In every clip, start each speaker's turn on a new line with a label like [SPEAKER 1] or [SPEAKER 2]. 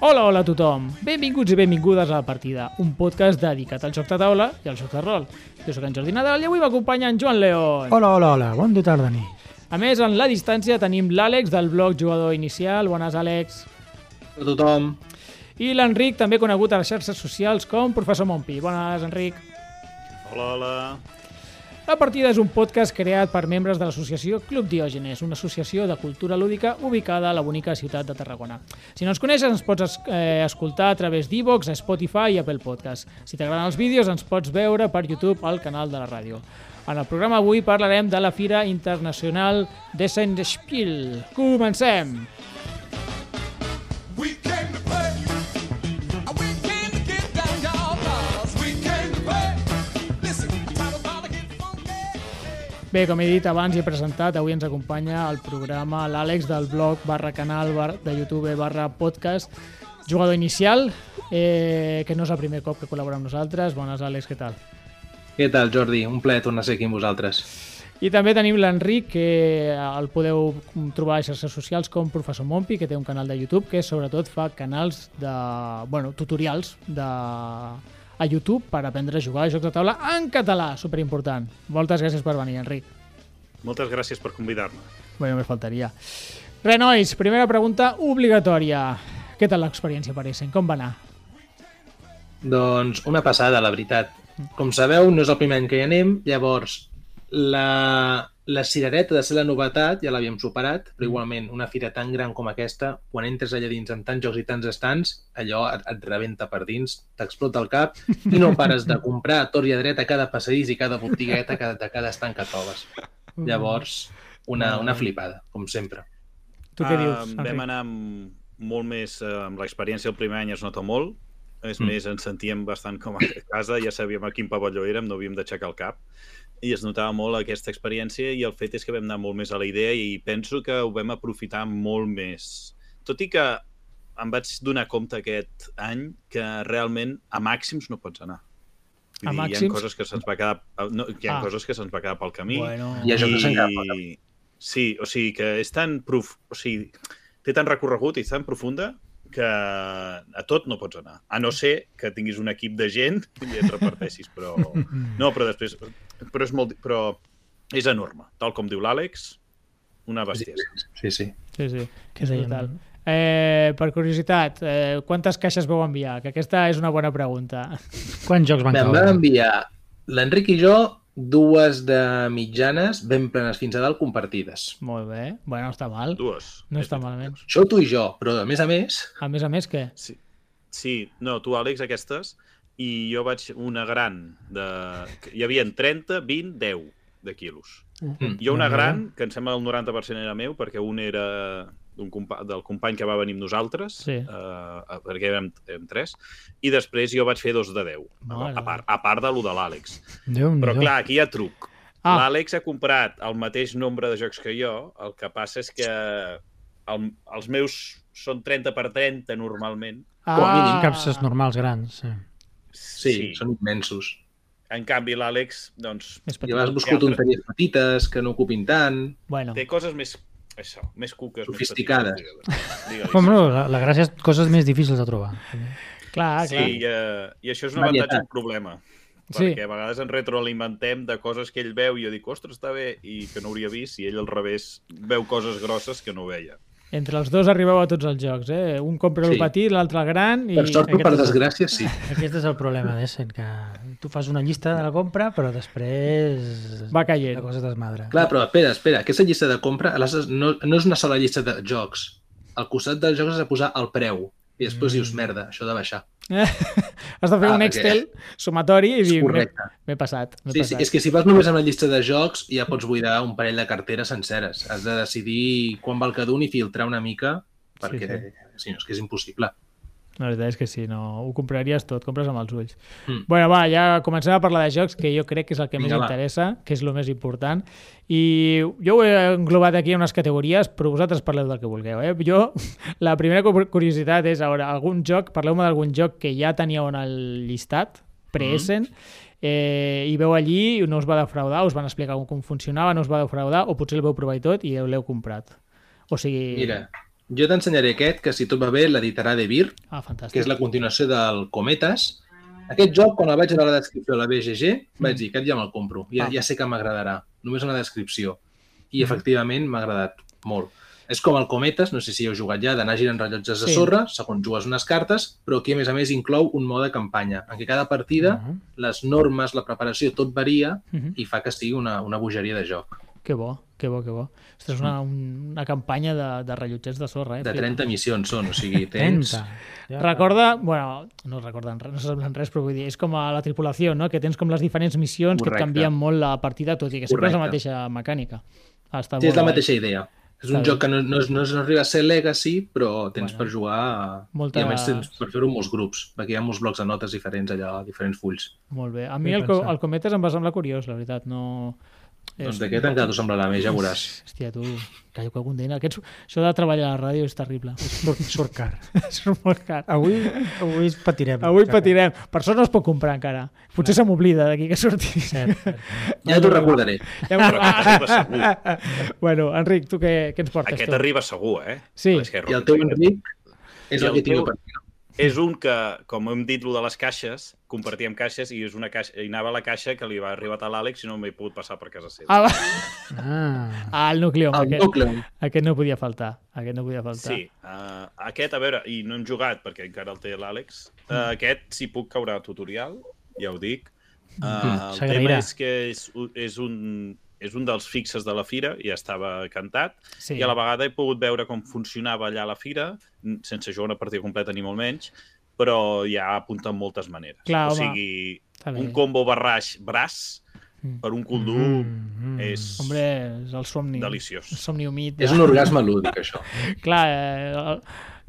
[SPEAKER 1] Hola, hola a tothom! Benvinguts i benvingudes a La Partida, un podcast dedicat al joc de taula i al joc de rol. Jo sóc en Jordi Nadal i avui m'acompanya en Joan León.
[SPEAKER 2] Hola, hola, hola, bon de tarda, nit.
[SPEAKER 1] A més, en la distància tenim l'Àlex del blog Jugador Inicial. Bones, Àlex.
[SPEAKER 3] a tothom.
[SPEAKER 1] I l'Enric, també conegut a les xarxes socials com Professor Montpi. Bones, Enric.
[SPEAKER 4] Hola, hola.
[SPEAKER 1] La partida és un podcast creat per membres de l'associació Club Diògenes, una associació de cultura lúdica ubicada a la bonica ciutat de Tarragona. Si no ens coneixes, ens pots es- eh, escoltar a través d'Evox, Spotify i Apple Podcast. Si t'agraden els vídeos, ens pots veure per YouTube al canal de la ràdio. En el programa avui parlarem de la Fira Internacional d'Essenspiel. Comencem!
[SPEAKER 5] We came to play. We came to get down, y'all. 'cause we came to play. Listen, try to bother, get funky.
[SPEAKER 1] Bé, com he dit abans i he presentat, avui ens acompanya al programa l'Àlex del blog barra canal bar, de YouTube barra podcast jugador inicial, eh, que no és el primer cop que col·labora amb nosaltres. Bones, Àlex, què tal?
[SPEAKER 3] Què tal, Jordi? Un plaer tornar a ser aquí amb vosaltres.
[SPEAKER 1] I també tenim l'Enric, que el podeu trobar a xarxes socials com Professor Mompi, que té un canal de YouTube que sobretot fa canals de... Bueno, tutorials de a YouTube per aprendre a jugar a jocs de taula en català, superimportant. Moltes gràcies per venir, Enric.
[SPEAKER 4] Moltes gràcies per convidar-me.
[SPEAKER 1] Bé, només faltaria. Re, nois, primera pregunta obligatòria. Què tal l'experiència per Essen? Com va anar?
[SPEAKER 3] Doncs una passada, la veritat. Com sabeu, no és el primer any que hi anem, llavors la, la cirereta de ser la novetat ja l'havíem superat, però igualment una fira tan gran com aquesta, quan entres allà dins amb tants jocs i tants estants, allò et, et rebenta per dins, t'explota el cap i no pares de comprar a tor i a dret a cada passadís i cada botigueta, cada, de cada estant que trobes. Llavors, una, una flipada, com sempre.
[SPEAKER 1] Tu què dius,
[SPEAKER 4] Vam
[SPEAKER 1] Enric?
[SPEAKER 4] anar amb, molt més... eh, Amb l'experiència del primer any es nota molt. És
[SPEAKER 3] Mm.
[SPEAKER 4] més, ens sentíem bastant com a casa, ja sabíem a quin pavelló érem, no havíem d'aixecar el cap. I es notava molt aquesta experiència i el fet és que vam anar molt més a la idea i penso que ho vam aprofitar molt més. Tot i que em vaig donar compte aquest any que realment a màxims no pots anar.
[SPEAKER 1] A
[SPEAKER 4] Vull dir, Hi
[SPEAKER 1] màxims?
[SPEAKER 4] ha coses que se'ns va quedar... No, hi ha
[SPEAKER 1] Ah.
[SPEAKER 4] coses que se'ns va quedar pel camí.
[SPEAKER 1] Bueno,
[SPEAKER 3] I això que se'n cap,
[SPEAKER 4] I... Sí, o sigui que és tan prof... o sigui, té tan recorregut i és tan profunda que a tot no pots anar. A no ser que tinguis un equip de gent i et reparteixis, però...
[SPEAKER 1] Mm.
[SPEAKER 4] No, però després... Però és, molt... però és enorme. Tal com diu l'Àlex, una bestiesa.
[SPEAKER 3] Sí, sí.
[SPEAKER 1] sí, sí.
[SPEAKER 2] Què dèiem?
[SPEAKER 1] Total. Eh, per curiositat, eh, quantes caixes vau enviar? Que aquesta és una bona pregunta.
[SPEAKER 2] Quants jocs van
[SPEAKER 3] Bé, em
[SPEAKER 2] caure?
[SPEAKER 3] van enviar l'Enric i jo dues de mitjanes ben plenes fins a dalt compartides.
[SPEAKER 1] Molt bé. Bueno, no està mal.
[SPEAKER 4] Dues.
[SPEAKER 1] No està malament.
[SPEAKER 3] Això tu i jo, però a més a més...
[SPEAKER 1] A més a més, què?
[SPEAKER 4] Sí. sí, no, tu, Àlex, aquestes, i jo vaig una gran de... Hi havia 30, 20, 10 de quilos.
[SPEAKER 3] Mm.
[SPEAKER 4] Jo una gran, que em sembla el 90% era meu, perquè un era d'un compa del company que va venir amb nosaltres,
[SPEAKER 1] Sí.
[SPEAKER 4] eh, perquè érem, érem tres, i després jo vaig fer dos de 10,
[SPEAKER 1] Mare
[SPEAKER 4] a part, a part de lo de l'Àlex.
[SPEAKER 2] Déu,
[SPEAKER 4] Però clar, aquí hi ha truc.
[SPEAKER 1] Ah.
[SPEAKER 4] L'Àlex ha comprat el mateix nombre de jocs que jo, el que passa és que el, els meus són 30 per 30 normalment.
[SPEAKER 2] Com
[SPEAKER 1] Ah!
[SPEAKER 2] a mínim, capses normals grans. Sí.
[SPEAKER 3] Sí, sí, són immensos.
[SPEAKER 4] En canvi, l'Àlex, doncs,
[SPEAKER 1] Més
[SPEAKER 3] I vas
[SPEAKER 1] petit.
[SPEAKER 3] buscar
[SPEAKER 4] Teatre.
[SPEAKER 3] tonteries petites que no ocupin tant...
[SPEAKER 1] Bueno,
[SPEAKER 4] té coses més, això, més cuques. més
[SPEAKER 3] Sofisticades.
[SPEAKER 4] petites, digue-les. Digue-les.
[SPEAKER 2] Com no, la, la gràcia és coses més difícils de trobar.
[SPEAKER 1] ah, clar, clar.
[SPEAKER 4] Sí, i, eh, i això és un avantatge i
[SPEAKER 3] Varietat.
[SPEAKER 4] un problema.
[SPEAKER 1] Sí.
[SPEAKER 4] Perquè a vegades ens retroalimentem de coses que ell veu i jo dic, ostres, està bé, i que no hauria vist, i ell al revés veu coses grosses que no veia.
[SPEAKER 1] Entre els dos arribeu a tots els jocs, eh? Un compra el
[SPEAKER 3] Sí.
[SPEAKER 1] petit, l'altre el gran... I
[SPEAKER 3] Per sort o
[SPEAKER 1] aquest
[SPEAKER 3] per
[SPEAKER 1] és-
[SPEAKER 3] desgràcia, sí.
[SPEAKER 2] Aquest és el problema d'Essen, que tu fas una llista de la compra, però després...
[SPEAKER 1] Va caient.
[SPEAKER 2] La cosa es desmadra.
[SPEAKER 3] Clar, però espera, espera, aquesta llista de compra aleshores, no, no és una sola llista de jocs. Al costat dels jocs has de posar el preu. I després dius, merda, això ha de baixar.
[SPEAKER 1] Eh? Has de fer
[SPEAKER 3] Ah,
[SPEAKER 1] un
[SPEAKER 3] perquè-
[SPEAKER 1] Excel sumatori i
[SPEAKER 3] És
[SPEAKER 1] dir... "M'he-
[SPEAKER 3] correcte.
[SPEAKER 1] M'he passat, m'he
[SPEAKER 3] Sí, sí,
[SPEAKER 1] passat.
[SPEAKER 3] és que si vas només amb la llista de jocs ja pots buidar un parell de carteres senceres. Has de decidir quan val cada un i filtrar una mica
[SPEAKER 1] Sí,
[SPEAKER 3] perquè sí, sí. si no és que és impossible.
[SPEAKER 1] La veritat és que sí, no, ho compraries tot, compres amb els ulls. Mm.
[SPEAKER 3] Mm.
[SPEAKER 1] bueno, va, ja comencem a parlar de jocs, que jo crec que és el que
[SPEAKER 3] Vinga,
[SPEAKER 1] més
[SPEAKER 3] va.
[SPEAKER 1] interessa, que és el més important. I jo ho he englobat aquí en unes categories, però vosaltres parleu del que vulgueu. Eh? Jo, la primera cu- curiositat és, a veure, algun joc, parleu-me d'algun joc que ja teníeu en el llistat,
[SPEAKER 3] Mm-hmm.
[SPEAKER 1] pre-Essen, eh, i veu allí, i no us va defraudar, us van explicar com funcionava, no us va defraudar, o potser el veu provar i tot i l'heu comprat. O sigui,
[SPEAKER 3] Mira, Jo t'ensenyaré aquest, que si tot va bé l'editarà De Vir,
[SPEAKER 1] Ah, fantàstic.
[SPEAKER 3] que és la continuació del Cometes. Aquest joc, quan el vaig veure a la descripció de la BGG, vaig dir, aquest ja me'l compro, ja,
[SPEAKER 1] Mm. Ah. Mm-hmm.
[SPEAKER 3] ja sé que m'agradarà, només una descripció. I efectivament m'ha agradat molt. És com el Cometes, no sé si heu jugat ja, d'anar girant rellotges de
[SPEAKER 1] Sí.
[SPEAKER 3] sorra, segons jugues unes cartes, però aquí a més a més inclou un mode de campanya, en què cada partida,
[SPEAKER 1] Mm-hmm.
[SPEAKER 2] Mhm.
[SPEAKER 3] les normes, la preparació, tot varia
[SPEAKER 1] Mhm.
[SPEAKER 3] i fa que sigui una, una bogeria de joc.
[SPEAKER 1] Que bo, que bo, que bo. Ostres, una, un- una campanya de, de rellotgers de sorra, eh?
[SPEAKER 3] Mm. De
[SPEAKER 1] Flipa.
[SPEAKER 3] 30 missions són, o sigui, tens...
[SPEAKER 2] Tenta. Ja.
[SPEAKER 1] Recorda, bueno, no recorden res, no semblen res, però vull dir, és com a la tripulació, no? Que tens com les diferents missions que et
[SPEAKER 3] Correcte.
[SPEAKER 1] canvien molt la partida, tot i que sempre és la
[SPEAKER 3] Correcte.
[SPEAKER 1] mateixa mecànica. Ah, Està
[SPEAKER 3] Sí,
[SPEAKER 1] molt
[SPEAKER 3] és la
[SPEAKER 1] guai.
[SPEAKER 3] mateixa idea. És un
[SPEAKER 1] Està
[SPEAKER 3] joc que no, no, és- no, és- no arriba a ser Legacy, però tens
[SPEAKER 1] Bueno.
[SPEAKER 3] bueno, per jugar... a-
[SPEAKER 1] Moltes-
[SPEAKER 3] I a més tens per fer-ho en molts grups, perquè hi ha molts blocs de notes diferents allà, a diferents fulls.
[SPEAKER 1] Molt bé. A mi
[SPEAKER 2] Ben
[SPEAKER 1] el, co
[SPEAKER 2] pensat.
[SPEAKER 1] el Cometes em va semblar curiós, la veritat. No...
[SPEAKER 3] És... Doncs d'aquest encara t'ho semblarà més, ja veuràs.
[SPEAKER 1] Hòstia, tu, que jo condena. Aquests... Això de treballar a la ràdio és terrible.
[SPEAKER 2] Sur, surcar.
[SPEAKER 1] és molt car.
[SPEAKER 2] Avui, avui patirem.
[SPEAKER 1] Avui
[SPEAKER 2] Caca.
[SPEAKER 1] patirem. Per sort no es pot comprar encara. Potser se m'oblida d'aquí que surti.
[SPEAKER 2] Cert.
[SPEAKER 3] Ja t'ho recordaré.
[SPEAKER 1] Ja
[SPEAKER 4] Però
[SPEAKER 1] m'ho-
[SPEAKER 4] aquest arriba segur.
[SPEAKER 1] bueno, Enric, tu què, què ens portes?
[SPEAKER 4] Aquest
[SPEAKER 1] tu?
[SPEAKER 4] arriba segur, eh?
[SPEAKER 1] Sí.
[SPEAKER 4] És, que
[SPEAKER 3] I el teu Enric és
[SPEAKER 4] I
[SPEAKER 3] el
[SPEAKER 4] el
[SPEAKER 3] que tinc
[SPEAKER 4] teu-
[SPEAKER 3] jo per aquí.
[SPEAKER 4] és un que, com hem dit, lo de les caixes, compartíem caixes i és una caixa, i anava a la caixa que li va arribar a l'Àlex i no m'he pogut passar per casa seva.
[SPEAKER 1] Ah, va.
[SPEAKER 2] Ah.
[SPEAKER 1] ah, el nucleom.
[SPEAKER 3] El
[SPEAKER 1] Aquest,
[SPEAKER 3] Nucleum.
[SPEAKER 1] aquest no podia faltar. Aquest no podia faltar.
[SPEAKER 4] Sí, uh, aquest, a veure, i no hem jugat perquè encara el té l'Àlex,
[SPEAKER 1] Mm.
[SPEAKER 4] uh, aquest si puc caurà a tutorial, ja ho dic.
[SPEAKER 1] Mm.
[SPEAKER 4] Uh, el
[SPEAKER 2] s'agrairà.
[SPEAKER 4] tema és que és, u- és un és un dels fixes de la fira, ja estava cantat,
[SPEAKER 1] sí.
[SPEAKER 4] sí. i a la vegada he pogut veure com funcionava allà a la fira, n- sense jugar una partida completa ni molt menys, però ja apunta en moltes maneres.
[SPEAKER 1] Clar,
[SPEAKER 4] o
[SPEAKER 1] home.
[SPEAKER 4] sigui,
[SPEAKER 1] Està bé.
[SPEAKER 4] un combo barraix braç
[SPEAKER 1] Mm.
[SPEAKER 4] per un cul dur
[SPEAKER 2] Mm, mm.
[SPEAKER 4] és
[SPEAKER 1] Hombre, és el somni.
[SPEAKER 4] deliciós.
[SPEAKER 1] El somni humit.
[SPEAKER 3] És un orgasme lúdic, això.
[SPEAKER 1] Clar, eh, el-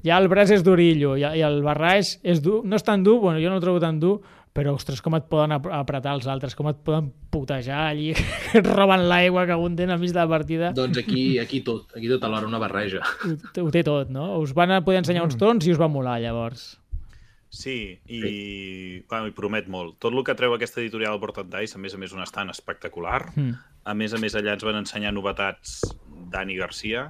[SPEAKER 1] ja el braç és durillo i, i el barraix és dur. No és tan dur, bueno, jo no el trobo tan dur, però, ostres, com et poden ap- apretar els altres, com et poden putejar allí, que et roben l'aigua, que un dent al mig de la partida.
[SPEAKER 3] Doncs aquí, aquí tot, aquí tot alhora una barreja.
[SPEAKER 1] Ho, té- ho té tot, no? Us van a poder ensenyar
[SPEAKER 4] Mm.
[SPEAKER 1] uns tons i us va molar, llavors.
[SPEAKER 4] Sí, i bueno, hi promet molt. Tot el que treu aquesta editorial Board and Dice, a més a més, un estant espectacular.
[SPEAKER 1] Mm.
[SPEAKER 4] A més a més, allà ens van ensenyar novetats Dani Garcia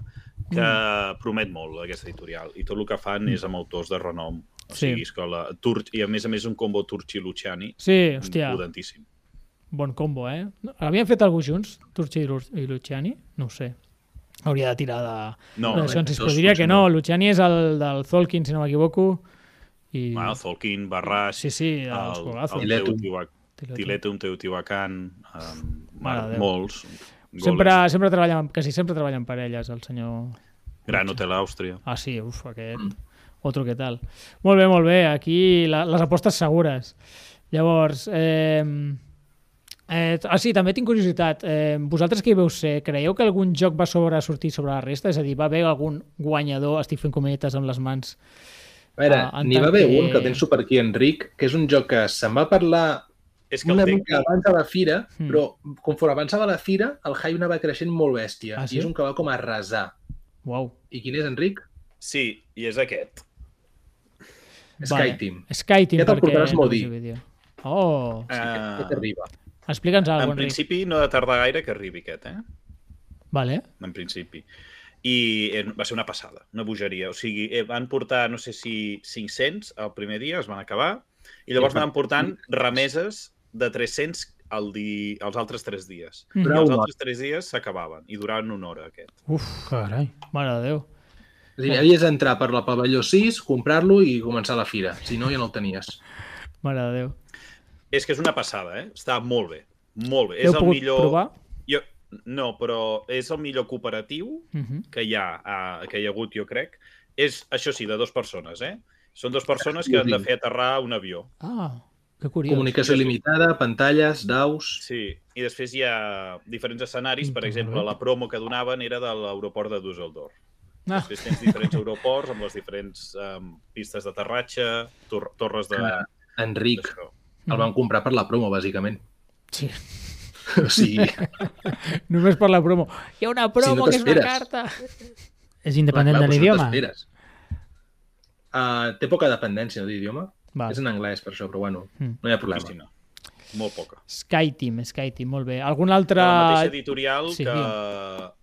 [SPEAKER 4] que
[SPEAKER 1] Mm.
[SPEAKER 4] promet molt aquesta editorial. I tot el que fan és amb autors de renom. O
[SPEAKER 1] Sí.
[SPEAKER 4] sigui, escola, Tur i a més a més un combo Turchi i Luciani.
[SPEAKER 1] Sí, hòstia,
[SPEAKER 4] Potentíssim.
[SPEAKER 1] bon combo, eh? No, Havien fet algú junts, Turchi i Lu- i Luciani? No ho sé. Hauria de tirar de...
[SPEAKER 4] No,
[SPEAKER 1] No,
[SPEAKER 4] eh, no,
[SPEAKER 1] això ens
[SPEAKER 3] dos
[SPEAKER 1] explicaria que
[SPEAKER 3] funcionen.
[SPEAKER 1] no. Luciani és el del Zolkin, si no m'equivoco. I...
[SPEAKER 4] no. Zolkin, Barrash,
[SPEAKER 1] Sí, sí, els
[SPEAKER 4] el,
[SPEAKER 1] golazos.
[SPEAKER 4] el
[SPEAKER 3] Tiletum.
[SPEAKER 4] Teotihuac- Tiletum, Teotihuacan, um,
[SPEAKER 1] Mare de Déu.
[SPEAKER 4] molts.
[SPEAKER 1] Sempre,
[SPEAKER 4] Golems.
[SPEAKER 1] sempre treballen, quasi sempre treballen parelles, el senyor...
[SPEAKER 4] Gran Hotel Àustria.
[SPEAKER 1] Ah, sí, uf, aquest...
[SPEAKER 3] Mm.
[SPEAKER 1] Otro que tal. Molt bé, molt bé, aquí la, les apostes segures. Llavors, eh, eh, ah, sí, també tinc curiositat. Eh, vosaltres que hi veu ser, creieu que algun joc va sobre sortir sobre la resta? És a dir, va haver algun guanyador, estic fent cometes amb les mans,
[SPEAKER 3] A veure,
[SPEAKER 1] Ah, en
[SPEAKER 3] n'hi va
[SPEAKER 1] tant
[SPEAKER 3] haver
[SPEAKER 1] que-
[SPEAKER 3] un que el penso per aquí, Enric, que és un joc que se'n va parlar
[SPEAKER 4] És que
[SPEAKER 3] una
[SPEAKER 4] el té
[SPEAKER 3] mica abans de la fira,
[SPEAKER 1] Mm.
[SPEAKER 3] però conforme avançava la fira, el hype anava creixent molt bèstia.
[SPEAKER 1] Ah, sí?
[SPEAKER 3] I és un que va com a arrasar.
[SPEAKER 1] Uau.
[SPEAKER 3] I quin és, Enric?
[SPEAKER 4] Sí, i és aquest.
[SPEAKER 3] Sky Team.
[SPEAKER 1] Sky Team,
[SPEAKER 3] Ja te'l
[SPEAKER 1] perquè...
[SPEAKER 3] portaràs
[SPEAKER 1] no
[SPEAKER 3] Modi.
[SPEAKER 1] sé vídeo. Oh,
[SPEAKER 3] Sí,
[SPEAKER 4] Ah.
[SPEAKER 3] aquest arriba.
[SPEAKER 1] explica'ns alguna
[SPEAKER 4] En
[SPEAKER 1] cosa, Enric.
[SPEAKER 4] principi no ha de tardar gaire que arribi aquest, eh?
[SPEAKER 1] Vale.
[SPEAKER 4] En principi. I eh, va ser una passada, una bogeria. O sigui, eh, van portar, no sé si 500 el primer dia, es van acabar, i llavors
[SPEAKER 3] Sí,
[SPEAKER 4] van portant remeses de 300 al di... els altres tres dies.
[SPEAKER 1] Mm.
[SPEAKER 4] I
[SPEAKER 3] Bravo,
[SPEAKER 4] els
[SPEAKER 3] Marc.
[SPEAKER 4] altres tres dies s'acabaven, i duraven una hora, aquest.
[SPEAKER 1] Uf,
[SPEAKER 2] Carai.
[SPEAKER 1] mare de Déu.
[SPEAKER 3] És a dir, havies d'entrar per la pavelló 6, comprar-lo i començar la fira. Si no, ja no el tenies.
[SPEAKER 1] Mare de Déu.
[SPEAKER 4] És que és una passada, eh? Està molt bé, molt bé.
[SPEAKER 1] L'heu
[SPEAKER 4] és el
[SPEAKER 1] pogut
[SPEAKER 4] millor...
[SPEAKER 1] provar?
[SPEAKER 4] Jo... No, però és el millor cooperatiu
[SPEAKER 1] Uh -huh.
[SPEAKER 4] que hi ha, eh, que hi ha hagut, jo crec, és, això sí, de dues persones, eh? Són dues persones que han de fer aterrar un avió.
[SPEAKER 1] Ah, que curiós.
[SPEAKER 3] Comunicació il·limitada, pantalles, daus...
[SPEAKER 4] Sí, i després hi ha diferents escenaris, per exemple, la promo que donaven era de l'aeroport de Düsseldorf.
[SPEAKER 1] Ah.
[SPEAKER 4] Després tens diferents aeroports amb les diferents um, pistes d'aterratge, tor torres de...
[SPEAKER 3] Clar. Enric,
[SPEAKER 4] d'això.
[SPEAKER 3] el van comprar per la promo, bàsicament.
[SPEAKER 1] Sí.
[SPEAKER 3] O sigui,
[SPEAKER 1] Només per la promo. Hi ha una promo
[SPEAKER 3] no
[SPEAKER 1] que és una
[SPEAKER 3] t'esperes.
[SPEAKER 1] carta.
[SPEAKER 2] És independent de
[SPEAKER 3] però si no
[SPEAKER 2] l'idioma?
[SPEAKER 3] t'esperes. Ah, té poca dependència no, d'idioma.
[SPEAKER 1] Val.
[SPEAKER 3] És en anglès, per això, però bueno,
[SPEAKER 1] Mm.
[SPEAKER 3] no hi ha problema.
[SPEAKER 4] Cristina. Molt poca.
[SPEAKER 1] Sky Team, Sky Team, molt bé. Algun altre...
[SPEAKER 4] De la mateixa editorial
[SPEAKER 1] Sí.
[SPEAKER 4] que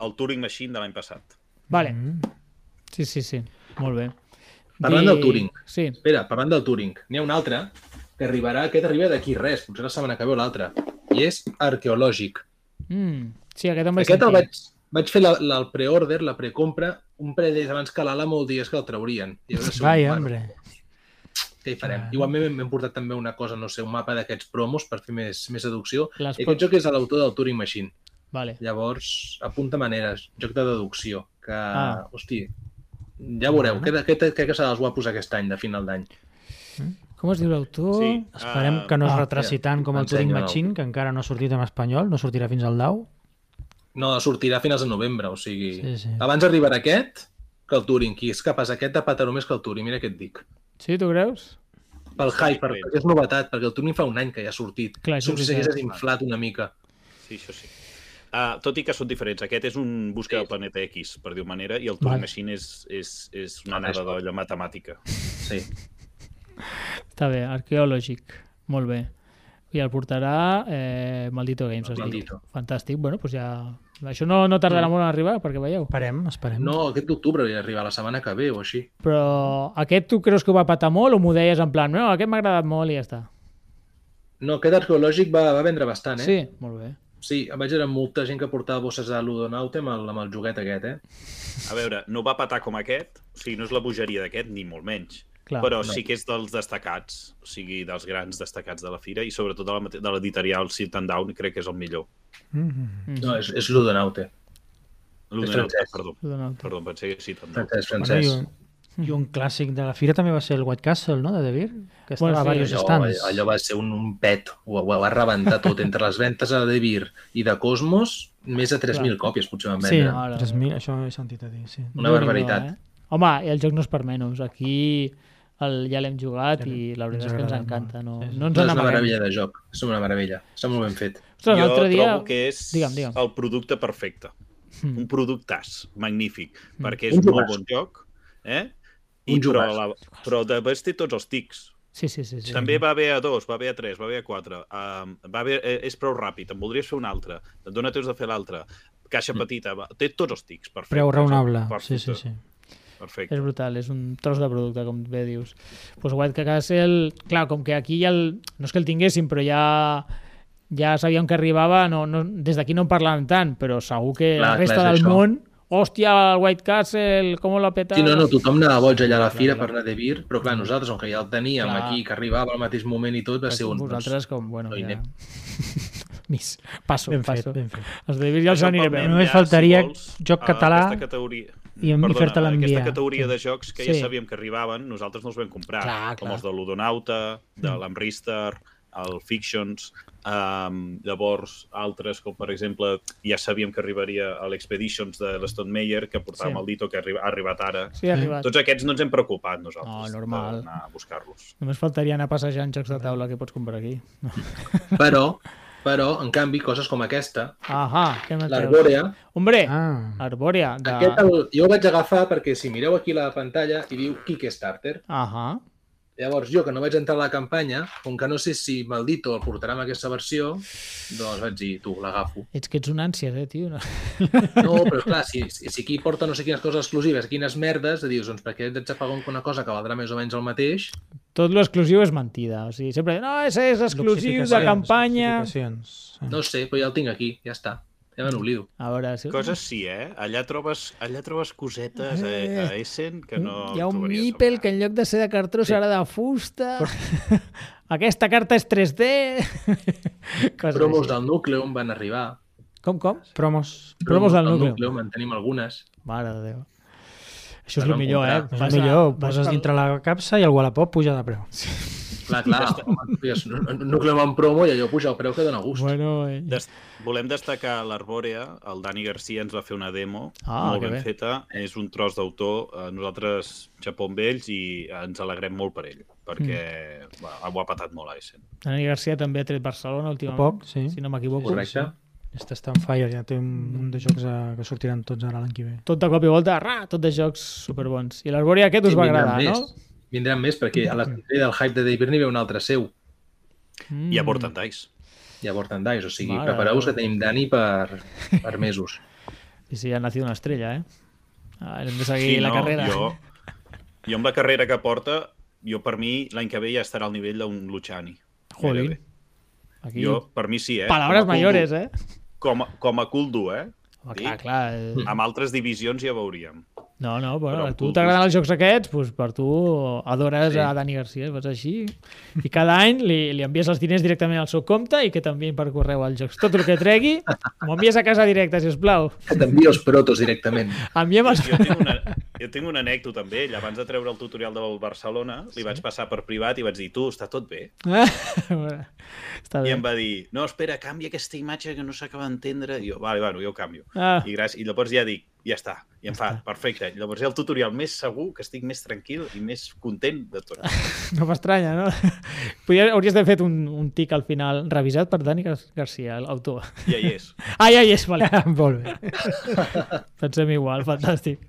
[SPEAKER 4] el Turing Machine de l'any passat.
[SPEAKER 1] Vale,
[SPEAKER 2] Mm.
[SPEAKER 1] Sí, sí, sí. Molt bé.
[SPEAKER 3] Parlant del Turing.
[SPEAKER 1] Sí.
[SPEAKER 3] Espera, parlant del Turing, n'hi ha un altre que arribarà, aquest arriba d'aquí res, potser la setmana que ve o l'altra, i és arqueològic.
[SPEAKER 1] Mm. Sí, aquest em vaig
[SPEAKER 3] Aquest el
[SPEAKER 1] sentir.
[SPEAKER 3] vaig, vaig fer la, la, el pre-order, la precompra, un parell d'ells abans que l'Alamo digués que el traurien. I llavors,
[SPEAKER 2] Vaya,
[SPEAKER 3] bueno,
[SPEAKER 2] hombre.
[SPEAKER 3] Què hi farem? Igualment m'hem- m'hem portat també una cosa, no sé, un mapa d'aquests promos per fer més, més deducció.
[SPEAKER 1] Les
[SPEAKER 3] I
[SPEAKER 1] pots-
[SPEAKER 3] aquest joc és de l'autor del Turing Machine.
[SPEAKER 1] Vale.
[SPEAKER 3] Llavors, apunta maneres, joc de deducció, que,
[SPEAKER 1] Ah.
[SPEAKER 3] ah. hosti, ja veureu, crec que, que, que serà dels guapos aquest any, de final d'any.
[SPEAKER 1] Com es diu l'autor?
[SPEAKER 4] Sí.
[SPEAKER 2] Esperem
[SPEAKER 4] Ah,
[SPEAKER 2] que no es
[SPEAKER 1] Ah,
[SPEAKER 2] retraci
[SPEAKER 3] ja.
[SPEAKER 2] tant com el Turing
[SPEAKER 3] Ensenyo-ho.
[SPEAKER 2] Machine, que encara no ha sortit en espanyol, no sortirà fins al 10.
[SPEAKER 3] No, sortirà a finals de novembre, o sigui...
[SPEAKER 2] Sí, sí.
[SPEAKER 3] Abans arribarà aquest que el Turing. Qui és capaç aquest de patar més que el Turing, mira què et dic.
[SPEAKER 1] Sí, tu creus?
[SPEAKER 3] Pel hype, per- perquè és novetat, perquè el Turing fa un any que ja ha sortit.
[SPEAKER 1] Clar,
[SPEAKER 3] Clar,
[SPEAKER 1] això
[SPEAKER 3] Som
[SPEAKER 1] és
[SPEAKER 3] si s'hagués
[SPEAKER 1] veritat.
[SPEAKER 3] inflat una mica.
[SPEAKER 4] Sí, això sí. Uh, tot i que són diferents. Aquest és un busca del planeta X, per dir-ho manera, i el Turing
[SPEAKER 2] Vale.
[SPEAKER 4] Machine és, és, és
[SPEAKER 3] Ah,
[SPEAKER 4] una anada
[SPEAKER 3] és-
[SPEAKER 4] d'olla matemàtica.
[SPEAKER 3] Sí.
[SPEAKER 1] Està bé, arqueològic. Molt bé. I el portarà eh, Maldito Games, has dit.
[SPEAKER 3] Maldito.
[SPEAKER 1] Fantàstic. Bueno, doncs ja... Això no, no tardarà molt en arribar, perquè veieu.
[SPEAKER 2] Esperem, esperem.
[SPEAKER 3] No, aquest d'octubre hauria d'arribar, la setmana que ve o així.
[SPEAKER 1] Però aquest tu creus que ho va patar molt o m'ho deies en plan, no, aquest m'ha agradat molt i ja està.
[SPEAKER 3] No, aquest arqueològic va, va vendre bastant,
[SPEAKER 1] Sí,
[SPEAKER 3] eh?
[SPEAKER 1] molt bé.
[SPEAKER 3] Sí. Sí, em vaig veure molta gent que portava bosses de Ludonaut amb el, amb el joguet aquest, eh?
[SPEAKER 4] A veure, no va patar com aquest, o sigui, no és la bogeria d'aquest, ni molt menys.
[SPEAKER 1] Clar,
[SPEAKER 4] Clar, però no. sí que és dels destacats, o sigui, dels grans destacats de la fira, i sobretot de la mate- de l'editorial Sit and Down, crec que és el millor.
[SPEAKER 2] Mhm.
[SPEAKER 3] No, és, és Ludonaut, eh?
[SPEAKER 4] L'Udenauta,
[SPEAKER 3] francès.
[SPEAKER 4] perdó.
[SPEAKER 1] Donald.
[SPEAKER 4] Perdó, pensé que Sit and Down.
[SPEAKER 3] Francesc,
[SPEAKER 2] Bueno, i,
[SPEAKER 3] francès.
[SPEAKER 2] un, I un clàssic de la fira també va ser el White Castle, no?, de De Beer, que
[SPEAKER 1] Bueno,
[SPEAKER 2] estava a
[SPEAKER 1] sí,
[SPEAKER 2] diversos
[SPEAKER 3] allò, eh,
[SPEAKER 2] stands.
[SPEAKER 3] allò va ser un, un pet, ho, ho, va rebentar tot. Entre les ventes a De Beer i de Cosmos, més de 3.000 còpies potser van
[SPEAKER 2] Sí,
[SPEAKER 3] vendre.
[SPEAKER 1] Mare
[SPEAKER 2] 3.000, això he sentit a dir, sí.
[SPEAKER 3] Una
[SPEAKER 1] Déu-n'hi-do,
[SPEAKER 3] barbaritat.
[SPEAKER 1] Eh? Home, i el joc no és per menys. Aquí el, ja l'hem jugat i la veritat
[SPEAKER 2] ens
[SPEAKER 1] és que ens
[SPEAKER 2] agrada
[SPEAKER 1] encanta. No,
[SPEAKER 2] molt. Sí, sí.
[SPEAKER 1] no ens
[SPEAKER 3] No, és
[SPEAKER 1] en amaguem.
[SPEAKER 3] una Doncs meravella de joc, és una meravella. Està molt ben fet.
[SPEAKER 1] Ostres,
[SPEAKER 4] jo
[SPEAKER 1] l'altre dia...
[SPEAKER 4] trobo que és
[SPEAKER 1] Digue'm, digue'm.
[SPEAKER 4] el producte perfecte.
[SPEAKER 1] Mm.
[SPEAKER 4] Un productàs, magnífic, perquè és
[SPEAKER 3] Un
[SPEAKER 4] un molt
[SPEAKER 3] jugàs.
[SPEAKER 4] bon joc, eh?
[SPEAKER 3] Un
[SPEAKER 4] I però,
[SPEAKER 3] jugàs.
[SPEAKER 4] la, però de vegades té tots els tics.
[SPEAKER 1] Sí, sí, sí. sí.
[SPEAKER 4] També va haver a dos, va haver a tres, va haver a quatre. Um, va haver, eh, és prou ràpid, en voldries fer un altre, et dona temps de fer l'altre. Caixa petita, va, té tots els tics, perfecte.
[SPEAKER 2] Mm. Preu raonable, sí,
[SPEAKER 4] Perfecte,
[SPEAKER 2] sí, sí.
[SPEAKER 4] Perfecte.
[SPEAKER 1] És brutal, és un tros de producte, com bé dius. Doncs pues White Castle, clar, com que aquí ja el... No és que el tinguéssim, però ja ja sabíem que arribava, no, no, des d'aquí no en parlàvem tant, però segur que clar, la
[SPEAKER 3] Clar,
[SPEAKER 1] resta
[SPEAKER 3] clar,
[SPEAKER 1] clar, del
[SPEAKER 3] és això.
[SPEAKER 1] món, hòstia, el White Castle, com l'ha petat...
[SPEAKER 3] Sí, no, no, tothom anava boig allà a la fira per anar de vir, però clar, nosaltres, com que ja el teníem
[SPEAKER 1] Clar.
[SPEAKER 3] aquí, que arribava al mateix moment i tot, va ser un... doncs.
[SPEAKER 1] Vosaltres com, bueno,
[SPEAKER 3] no hi
[SPEAKER 1] ja...
[SPEAKER 3] anem.
[SPEAKER 1] Mis, passo,
[SPEAKER 2] Ben fet,
[SPEAKER 1] passo.
[SPEAKER 2] ben fet.
[SPEAKER 1] Els de David ja els
[SPEAKER 4] Això
[SPEAKER 1] aniré
[SPEAKER 4] parlem
[SPEAKER 1] veure.
[SPEAKER 2] Només
[SPEAKER 4] ja,
[SPEAKER 2] faltaria joc
[SPEAKER 4] a
[SPEAKER 2] català
[SPEAKER 4] aquesta categoria...
[SPEAKER 2] i en- i
[SPEAKER 4] Perdona,
[SPEAKER 2] fer-te-la enviar.
[SPEAKER 4] Aquesta categoria de jocs que ja
[SPEAKER 1] Sí.
[SPEAKER 4] sabíem que arribaven, nosaltres no els vam comprar.
[SPEAKER 1] Clar, clar. Mm.
[SPEAKER 4] Com els de l'Udonauta, de l'Amrister, el Fictions... Um, llavors, altres, com per exemple, ja sabíem que arribaria a l'Expeditions de l'Stone Meyer, que portava
[SPEAKER 1] Sí.
[SPEAKER 4] sí. el Dito, que ha arriba- ha arribat ara.
[SPEAKER 1] Sí, ha arribat.
[SPEAKER 4] Tots aquests no ens hem preocupat nosaltres
[SPEAKER 1] No, normal.
[SPEAKER 4] d'anar a buscar-los.
[SPEAKER 1] Només faltaria anar passejant jocs de taula que pots comprar aquí.
[SPEAKER 3] Però, però, en canvi, coses com aquesta,
[SPEAKER 1] Ahà, què m'ha
[SPEAKER 3] l'Arbòrea,
[SPEAKER 1] Hombre, ah.
[SPEAKER 2] Ah,
[SPEAKER 1] Arbòrea, de...
[SPEAKER 3] aquest el, jo el vaig agafar perquè si mireu aquí la pantalla hi diu Kickstarter.
[SPEAKER 1] Ahà,
[SPEAKER 3] Llavors, jo que no vaig entrar a la campanya, com que no sé si Maldito el portarà amb aquesta versió, doncs vaig dir, tu, l'agafo.
[SPEAKER 1] ets que ets un ànsies, eh, tio? No.
[SPEAKER 3] No, però clar, si, si aquí porta no sé quines coses exclusives, quines merdes, dius, doncs per què ets de pagar una cosa que valdrà més o menys el mateix?
[SPEAKER 1] Tot lo exclusiu és mentida. O sigui, sempre, no, és, és exclusiu de
[SPEAKER 2] Notificacions,
[SPEAKER 1] campanya...
[SPEAKER 2] notificacions. Sí.
[SPEAKER 3] No sé, però ja el tinc aquí, ja està. Ja me n'oblido.
[SPEAKER 1] A veure, si...
[SPEAKER 4] Coses sí, eh? Allà trobes, allà trobes cosetes eh, a Essen que no...
[SPEAKER 1] Mm. Hi ha un
[SPEAKER 4] trobaries a
[SPEAKER 1] mipel
[SPEAKER 4] França.
[SPEAKER 1] que en lloc de ser de cartró serà de fusta... Aquesta carta és 3D... Coses
[SPEAKER 3] Promos
[SPEAKER 1] així.
[SPEAKER 3] del Nucleum van arribar.
[SPEAKER 1] Com, com?
[SPEAKER 2] Promos.
[SPEAKER 1] Promos del Nucleum.
[SPEAKER 3] Nucleum en tenim algunes.
[SPEAKER 1] Mare de Déu. Això és
[SPEAKER 3] Es
[SPEAKER 1] el
[SPEAKER 3] van
[SPEAKER 1] millor, eh?
[SPEAKER 3] comprar.
[SPEAKER 2] És
[SPEAKER 1] Vas
[SPEAKER 2] el
[SPEAKER 1] a-
[SPEAKER 2] millor,
[SPEAKER 1] vas
[SPEAKER 2] poses
[SPEAKER 1] pel-
[SPEAKER 2] dintre la capsa i el Wallapop puja de preu.
[SPEAKER 3] Clar, clar, home, digues, nu- nu- Nucleum en promo i allò puja el preu que dona gust.
[SPEAKER 1] Bueno, eh,
[SPEAKER 4] Des... Volem destacar l'Arbòrea. El Dani Garcia ens va fer una demo
[SPEAKER 1] Ah,
[SPEAKER 4] molt
[SPEAKER 1] que
[SPEAKER 4] ben
[SPEAKER 1] bé.
[SPEAKER 4] feta. És un tros d'autor. Eh, Nosaltres xapó amb ells i ens alegrem molt per ell, perquè mm. va, ho ha patat molt a Essen.
[SPEAKER 1] Dani Garcia també ha tret Barcelona últimament.
[SPEAKER 2] Poc, sí.
[SPEAKER 1] Si no m'equivoco.
[SPEAKER 3] Correcte.
[SPEAKER 2] Està està en fire, ja té un munt de jocs eh, que sortiran tots ara l'any que ve.
[SPEAKER 1] Tot de cop i volta, ra, tot de jocs superbons. I l'Arbòria aquest us va
[SPEAKER 3] vindran
[SPEAKER 1] agradar,
[SPEAKER 3] més.
[SPEAKER 1] no?
[SPEAKER 3] Vindran més, perquè a la sortida del hype de Dave Birney ve un altre seu,
[SPEAKER 4] Mm. I a Portantais.
[SPEAKER 3] i a Bortandais, o sigui,
[SPEAKER 1] Mare
[SPEAKER 3] prepareu-vos
[SPEAKER 1] de
[SPEAKER 3] que tenim Dani per, per mesos.
[SPEAKER 1] I sí, ha nacido una estrella, eh? Ah, Hem de seguir la carrera.
[SPEAKER 4] Jo, jo amb la carrera que porta, jo per mi l'any que ve ja estarà al nivell d'un Luchani.
[SPEAKER 1] Jolín.
[SPEAKER 4] Gairebé.
[SPEAKER 1] Aquí,
[SPEAKER 4] Jo, per mi sí, eh?
[SPEAKER 1] Palabras
[SPEAKER 4] Com a cool
[SPEAKER 1] mayores,
[SPEAKER 4] duo.
[SPEAKER 1] eh?
[SPEAKER 4] Com, a- com a cool duo, eh?
[SPEAKER 1] Home,
[SPEAKER 4] Sí.
[SPEAKER 1] clar, clar. eh,
[SPEAKER 4] Amb altres divisions ja veuríem.
[SPEAKER 1] No, no,
[SPEAKER 4] Però
[SPEAKER 1] bueno, a
[SPEAKER 4] amb
[SPEAKER 1] tu
[SPEAKER 4] cultos.
[SPEAKER 1] t'agraden els jocs aquests, doncs per tu adores
[SPEAKER 4] Sí.
[SPEAKER 1] a Dani Garcia, vas així. I cada any li, li envies els diners directament al seu compte i que t'envien per correu als jocs. Tot el que tregui, m'ho envies a casa directa, sisplau.
[SPEAKER 3] Que t'envia els protos directament.
[SPEAKER 1] Enviem els...
[SPEAKER 4] Jo tinc una, jo tinc una anècdota amb ell. Abans de treure el tutorial del Barcelona, li vaig passar per privat i vaig dir, tu, està tot bé?
[SPEAKER 1] Està
[SPEAKER 4] I
[SPEAKER 1] bé.
[SPEAKER 4] em va dir, no, espera, canvia aquesta imatge que no s'acaba d'entendre. I jo, vale, bueno, jo ho canvio.
[SPEAKER 1] Ah.
[SPEAKER 4] I, gràcies, I llavors ja dic, ja està. I em fa, perfecte. I llavors hi ha el tutorial més segur, que estic més tranquil i més content de tot.
[SPEAKER 1] No m'estranya, no? Podria, hauries d'haver fet un, un tic al final revisat per Dani Gar Garcia, l'autor.
[SPEAKER 4] I ja hi és.
[SPEAKER 1] Ah, ja hi és, vale.
[SPEAKER 2] Molt bé.
[SPEAKER 1] Pensem igual, fantàstic.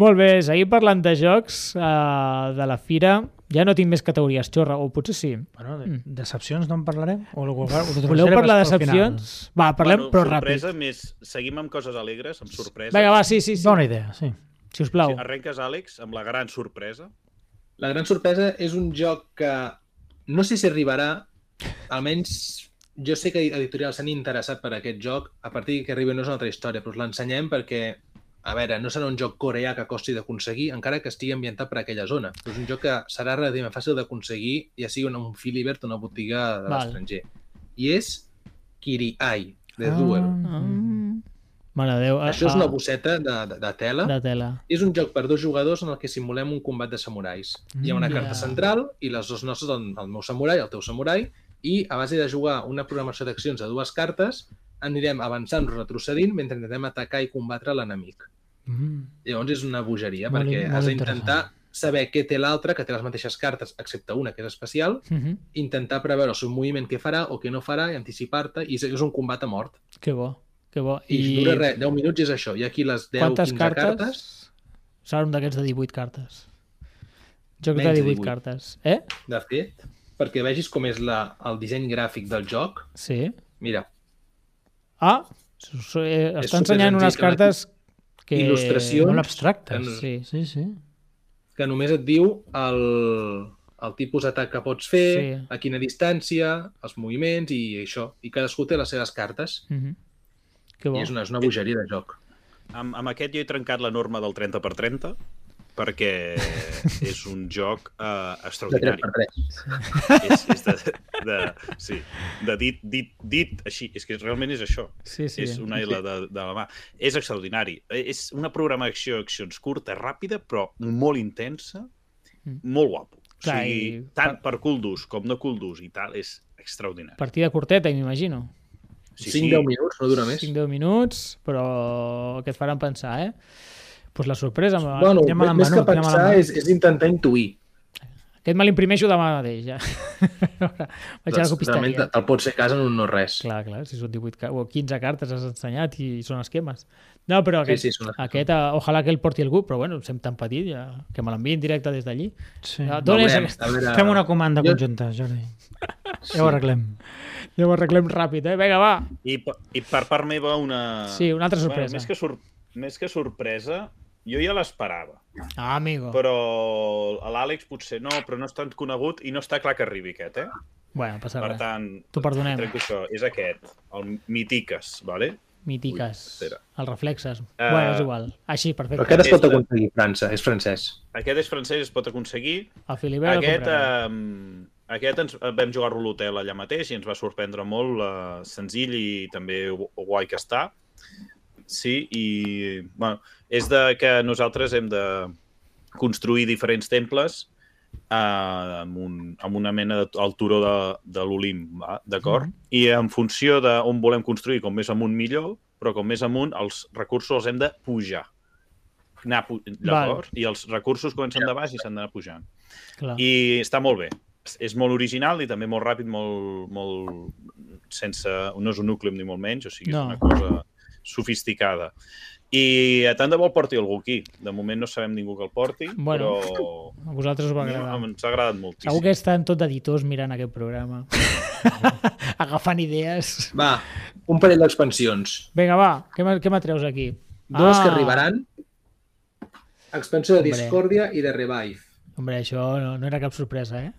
[SPEAKER 1] Molt bé, seguim parlant de jocs, uh, de la fira. Ja no tinc més categories, xorra, o potser sí.
[SPEAKER 2] Bueno, de, decepcions no en parlarem? O, o, o, o
[SPEAKER 1] Mm. Voleu parlar de decepcions? Va, parlem, però ràpid.
[SPEAKER 4] sorpresa, Més, seguim amb coses alegres, amb sorpresa.
[SPEAKER 1] Vinga, va, sí, sí, sí.
[SPEAKER 2] Bona idea, sí.
[SPEAKER 1] Si us plau.
[SPEAKER 4] Arrenques, Àlex, amb la gran sorpresa.
[SPEAKER 3] La gran sorpresa és un joc que no sé si arribarà, almenys jo sé que editorials s'han interessat per aquest joc, a partir que arribi no és una altra història, però us l'ensenyem perquè, a veure, no serà un joc coreà que costi d'aconseguir, encara que estigui ambientat per aquella zona, però és un joc que serà relativament fàcil d'aconseguir, ja sigui en un Filibert o una botiga de
[SPEAKER 1] Val.
[SPEAKER 3] l'estranger. I és Kiri-Ai, de
[SPEAKER 1] Ah.
[SPEAKER 3] Duel.
[SPEAKER 2] Ah.
[SPEAKER 1] Mm. Mare de Déu. ah,
[SPEAKER 3] Això és
[SPEAKER 1] ah,
[SPEAKER 3] una bosseta de, de, de tela
[SPEAKER 1] De tela.
[SPEAKER 3] és un joc per dos jugadors en el que simulem un combat de samurais. Hi ha una
[SPEAKER 1] Mm,
[SPEAKER 3] carta
[SPEAKER 1] ja.
[SPEAKER 3] central i les dues nostres, el, el meu samurai, el teu samurai, i a base de jugar una programació d'accions de dues cartes, anirem avançant o retrocedint mentre intentem atacar i combatre l'enemic.
[SPEAKER 2] Mm.
[SPEAKER 3] Llavors és una bogeria,
[SPEAKER 2] Molt
[SPEAKER 3] perquè
[SPEAKER 2] in-
[SPEAKER 3] has
[SPEAKER 2] molt
[SPEAKER 3] d'intentar saber què té l'altre, que té les mateixes cartes, excepte una que és especial,
[SPEAKER 1] Mm -hmm.
[SPEAKER 3] intentar preveure el seu moviment, què farà o què no farà, i anticipar-te, i és- és un combat a mort.
[SPEAKER 1] Que bo, que bo.
[SPEAKER 3] I, I... dura res, 10 minuts i és això. Hi ha aquí les 10-15
[SPEAKER 1] quantes cartes?
[SPEAKER 3] cartes.
[SPEAKER 1] Serà un d'aquests de 18 cartes. Joc de
[SPEAKER 3] Menys de
[SPEAKER 1] 18,
[SPEAKER 3] 18.
[SPEAKER 1] cartes. Eh?
[SPEAKER 3] De fet, perquè vegis com és la, el disseny gràfic del joc,
[SPEAKER 1] Sí.
[SPEAKER 3] mira,
[SPEAKER 1] Ah, so- so- eh,
[SPEAKER 3] És
[SPEAKER 1] està ensenyant
[SPEAKER 3] supersenzill,
[SPEAKER 1] unes
[SPEAKER 3] eh?
[SPEAKER 1] cartes que...
[SPEAKER 3] Il·lustració.
[SPEAKER 2] Molt abstractes.
[SPEAKER 1] Sí.
[SPEAKER 2] Sí, sí.
[SPEAKER 3] que només et diu el, el tipus d'atac que pots fer, sí.
[SPEAKER 1] Sí.
[SPEAKER 3] a quina distància, els moviments i això. I cadascú té les seves cartes.
[SPEAKER 1] Mm -hmm. Que bo.
[SPEAKER 3] I és una, és una bogeria de joc.
[SPEAKER 4] Amb, amb aquest jo he trencat la norma del 30x30 perquè és un joc eh,
[SPEAKER 3] De 3
[SPEAKER 4] extraordinari.
[SPEAKER 3] per 3.
[SPEAKER 4] És, és de, de, sí, de dit, dit, dit així. És que realment és això.
[SPEAKER 1] Sí, sí.
[SPEAKER 4] Sí. És una L de, de la mà. És extraordinari. És una programació d'accions curta, ràpida, però molt intensa,
[SPEAKER 1] Mm.
[SPEAKER 4] molt guapo. O
[SPEAKER 1] Clar,
[SPEAKER 4] sigui,
[SPEAKER 1] i-
[SPEAKER 4] tant per cul d'ús com no cul d'ús i tal, és extraordinari.
[SPEAKER 1] Partida corteta, m'imagino.
[SPEAKER 4] Sí,
[SPEAKER 3] 5-10
[SPEAKER 4] sí.
[SPEAKER 3] minuts, no dura més.
[SPEAKER 1] 5-10 minuts, però que et faran pensar, eh? Pues la sorpresa... me la-
[SPEAKER 3] Bueno,
[SPEAKER 2] Ja me l'han
[SPEAKER 3] més que
[SPEAKER 2] venut, ja me l'han
[SPEAKER 3] pensar
[SPEAKER 2] venut.
[SPEAKER 3] és, és intentar intuir.
[SPEAKER 1] Aquest me l'imprimeixo demà mateix, ja. Vaig a la
[SPEAKER 3] Doncs, Realment
[SPEAKER 1] copisteria.
[SPEAKER 3] te- te'l pots fer a casa en un no-res.
[SPEAKER 1] Clar, clar, si són 18 car- o 15 cartes has ensenyat i són esquemes. No, però aquest,
[SPEAKER 3] sí, són esquemes.
[SPEAKER 1] aquest eh, ojalà que el porti algú, però bueno, sent tan petit, ja, que me l'enviïn directe des d'allí.
[SPEAKER 2] sí.
[SPEAKER 1] Ja, d'on és
[SPEAKER 3] Veurem,
[SPEAKER 1] aquest?
[SPEAKER 3] a veure...
[SPEAKER 2] Fem una comanda
[SPEAKER 3] Jo-
[SPEAKER 2] conjunta, Jordi. Ja ho arreglem.
[SPEAKER 1] Ja ho arreglem ràpid, eh? Vinga, va.
[SPEAKER 4] I, per- I per part meva una...
[SPEAKER 1] Sí, una altra sorpresa.
[SPEAKER 4] Bueno, més, que sor... més que sorpresa, jo ja l'esperava,
[SPEAKER 1] Ah, amigo.
[SPEAKER 4] però a l'Àlex potser no, però no és tan conegut i no està clar que arribi aquest, eh?
[SPEAKER 1] Bueno, passa
[SPEAKER 4] Per
[SPEAKER 1] res.
[SPEAKER 4] tant,
[SPEAKER 1] T'ho perdonem.
[SPEAKER 4] trenco això, és aquest, el Mitiques, vale?
[SPEAKER 1] Mítiques.
[SPEAKER 4] Ui, espera.
[SPEAKER 1] els reflexes. Uh...
[SPEAKER 4] Eh,
[SPEAKER 1] Bueno, és igual. Així, perfecte.
[SPEAKER 3] Però aquest es pot
[SPEAKER 4] És-
[SPEAKER 3] aconseguir a França, és francès.
[SPEAKER 4] Aquest és francès, es pot aconseguir.
[SPEAKER 1] El Filibert
[SPEAKER 4] aquest,
[SPEAKER 1] el comprarà.
[SPEAKER 4] eh, aquest ens vam jugar a l'hotel allà mateix i ens va sorprendre molt eh, senzill i també gu- guai que està. Sí, i bueno, és de que nosaltres hem de construir diferents temples eh, amb, un, amb una mena de al turó de, de l'Olim, va? d'acord? I en funció d'on volem construir, com més amunt millor, però com més amunt els recursos els hem de pujar. Anar pu llavors, i els recursos comencen de baix i s'han d'anar pujant.
[SPEAKER 1] Clar. I...
[SPEAKER 4] eh, I està molt bé. És molt original i també molt ràpid, molt... molt sense, no és un núcleum ni molt menys, o sigui,
[SPEAKER 1] No.
[SPEAKER 4] és una cosa sofisticada. I a tant de bo el porti algú aquí. De moment no sabem ningú que el porti,
[SPEAKER 1] Bueno,
[SPEAKER 4] però
[SPEAKER 1] A vosaltres us va agradar.
[SPEAKER 4] no, ens ha agradat moltíssim.
[SPEAKER 1] Segur que estan tot editors mirant aquest programa. Agafant idees.
[SPEAKER 3] Va, un parell d'expansions.
[SPEAKER 1] Vinga, va, què me- què m'atreus aquí?
[SPEAKER 3] Dos que arribaran Expansió de
[SPEAKER 2] Ah. Hombre.
[SPEAKER 3] Discordia i de Revive.
[SPEAKER 2] Hombre, això no, no era cap sorpresa, eh?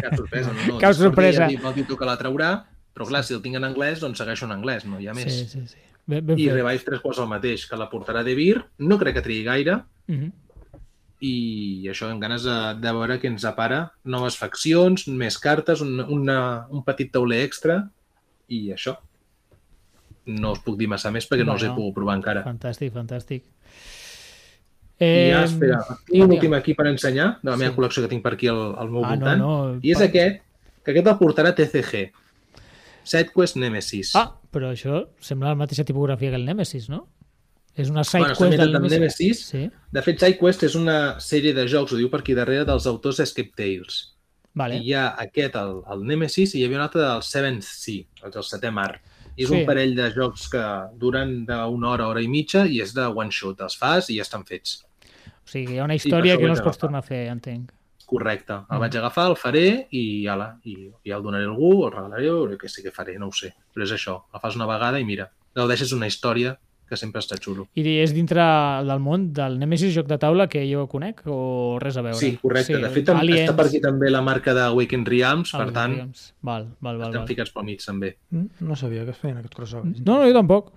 [SPEAKER 3] Cap sorpresa, no? no.
[SPEAKER 1] Cap
[SPEAKER 3] Discordia
[SPEAKER 1] sorpresa.
[SPEAKER 3] ja diu- Vol dir tu que la traurà, però clar, si el tinc en anglès, doncs segueixo en anglès, no hi ha més.
[SPEAKER 2] Sí, sí, sí. Ben, ben
[SPEAKER 3] I
[SPEAKER 2] fet.
[SPEAKER 3] Revive tres quarts el mateix, que la portarà De Vir, no crec que trigui gaire,
[SPEAKER 1] Mhm.
[SPEAKER 3] i això, amb ganes de, de veure què ens depara. Noves faccions, més cartes, un, una, un petit tauler extra i això. No us puc dir massa més perquè no, no els he
[SPEAKER 2] Bueno.
[SPEAKER 3] pogut provar encara.
[SPEAKER 2] Fantàstic, fantàstic.
[SPEAKER 3] I
[SPEAKER 1] Eh,
[SPEAKER 3] ja, espera, tinc
[SPEAKER 1] digue'm,
[SPEAKER 3] un últim aquí per ensenyar, de la meva
[SPEAKER 1] Sí.
[SPEAKER 3] col·lecció que tinc per aquí al, al meu
[SPEAKER 2] Ah, no,
[SPEAKER 3] voltant.
[SPEAKER 2] no,
[SPEAKER 3] I és
[SPEAKER 2] pa-
[SPEAKER 3] aquest, que aquest el portarà TCG. SideQuest Nemesis.
[SPEAKER 1] Ah, però això sembla la mateixa tipografia que el Nemesis, no? És una side
[SPEAKER 3] Bueno,
[SPEAKER 1] quest
[SPEAKER 3] s'ha inventat
[SPEAKER 1] del
[SPEAKER 3] amb
[SPEAKER 1] Nemesis.
[SPEAKER 3] Nemesis.
[SPEAKER 1] Sí,
[SPEAKER 3] De fet, SideQuest és una sèrie de jocs, ho diu per aquí darrere, dels autors d'Escape Tales.
[SPEAKER 1] vale.
[SPEAKER 3] Hi ha aquest, el, el Nemesis, i hi havia un altre del Seventh Sea, el del setè mar. I és
[SPEAKER 1] Sí.
[SPEAKER 3] un parell de jocs que duren d'una hora, hora i mitja, i és de one shot. Els fas i ja estan fets.
[SPEAKER 1] O sigui, hi ha una
[SPEAKER 3] per
[SPEAKER 1] història
[SPEAKER 3] això
[SPEAKER 1] que no
[SPEAKER 3] vaig
[SPEAKER 1] es pots
[SPEAKER 3] agafar.
[SPEAKER 1] tornar a fer, entenc.
[SPEAKER 3] Correcte.
[SPEAKER 1] Mm.
[SPEAKER 3] El vaig agafar, el faré i ala, i ja el donaré a algú, el regalaré o jo què sé què faré, no ho sé. Però és això, el fas una vegada i mira, gaudeixes una història que sempre està xulo.
[SPEAKER 1] I és dintre del món del Nemesis joc de taula que jo conec o res a veure?
[SPEAKER 3] Sí, correcte. Sí, de fet, aliens, està per aquí també la marca de Awakened Realms, per
[SPEAKER 1] Aliens.
[SPEAKER 3] tant,
[SPEAKER 1] Val, val, val,
[SPEAKER 3] estem
[SPEAKER 1] val.
[SPEAKER 3] ficats pel mig també.
[SPEAKER 2] Mm, No sabia que es feien aquests crossovers.
[SPEAKER 1] No, no, jo tampoc.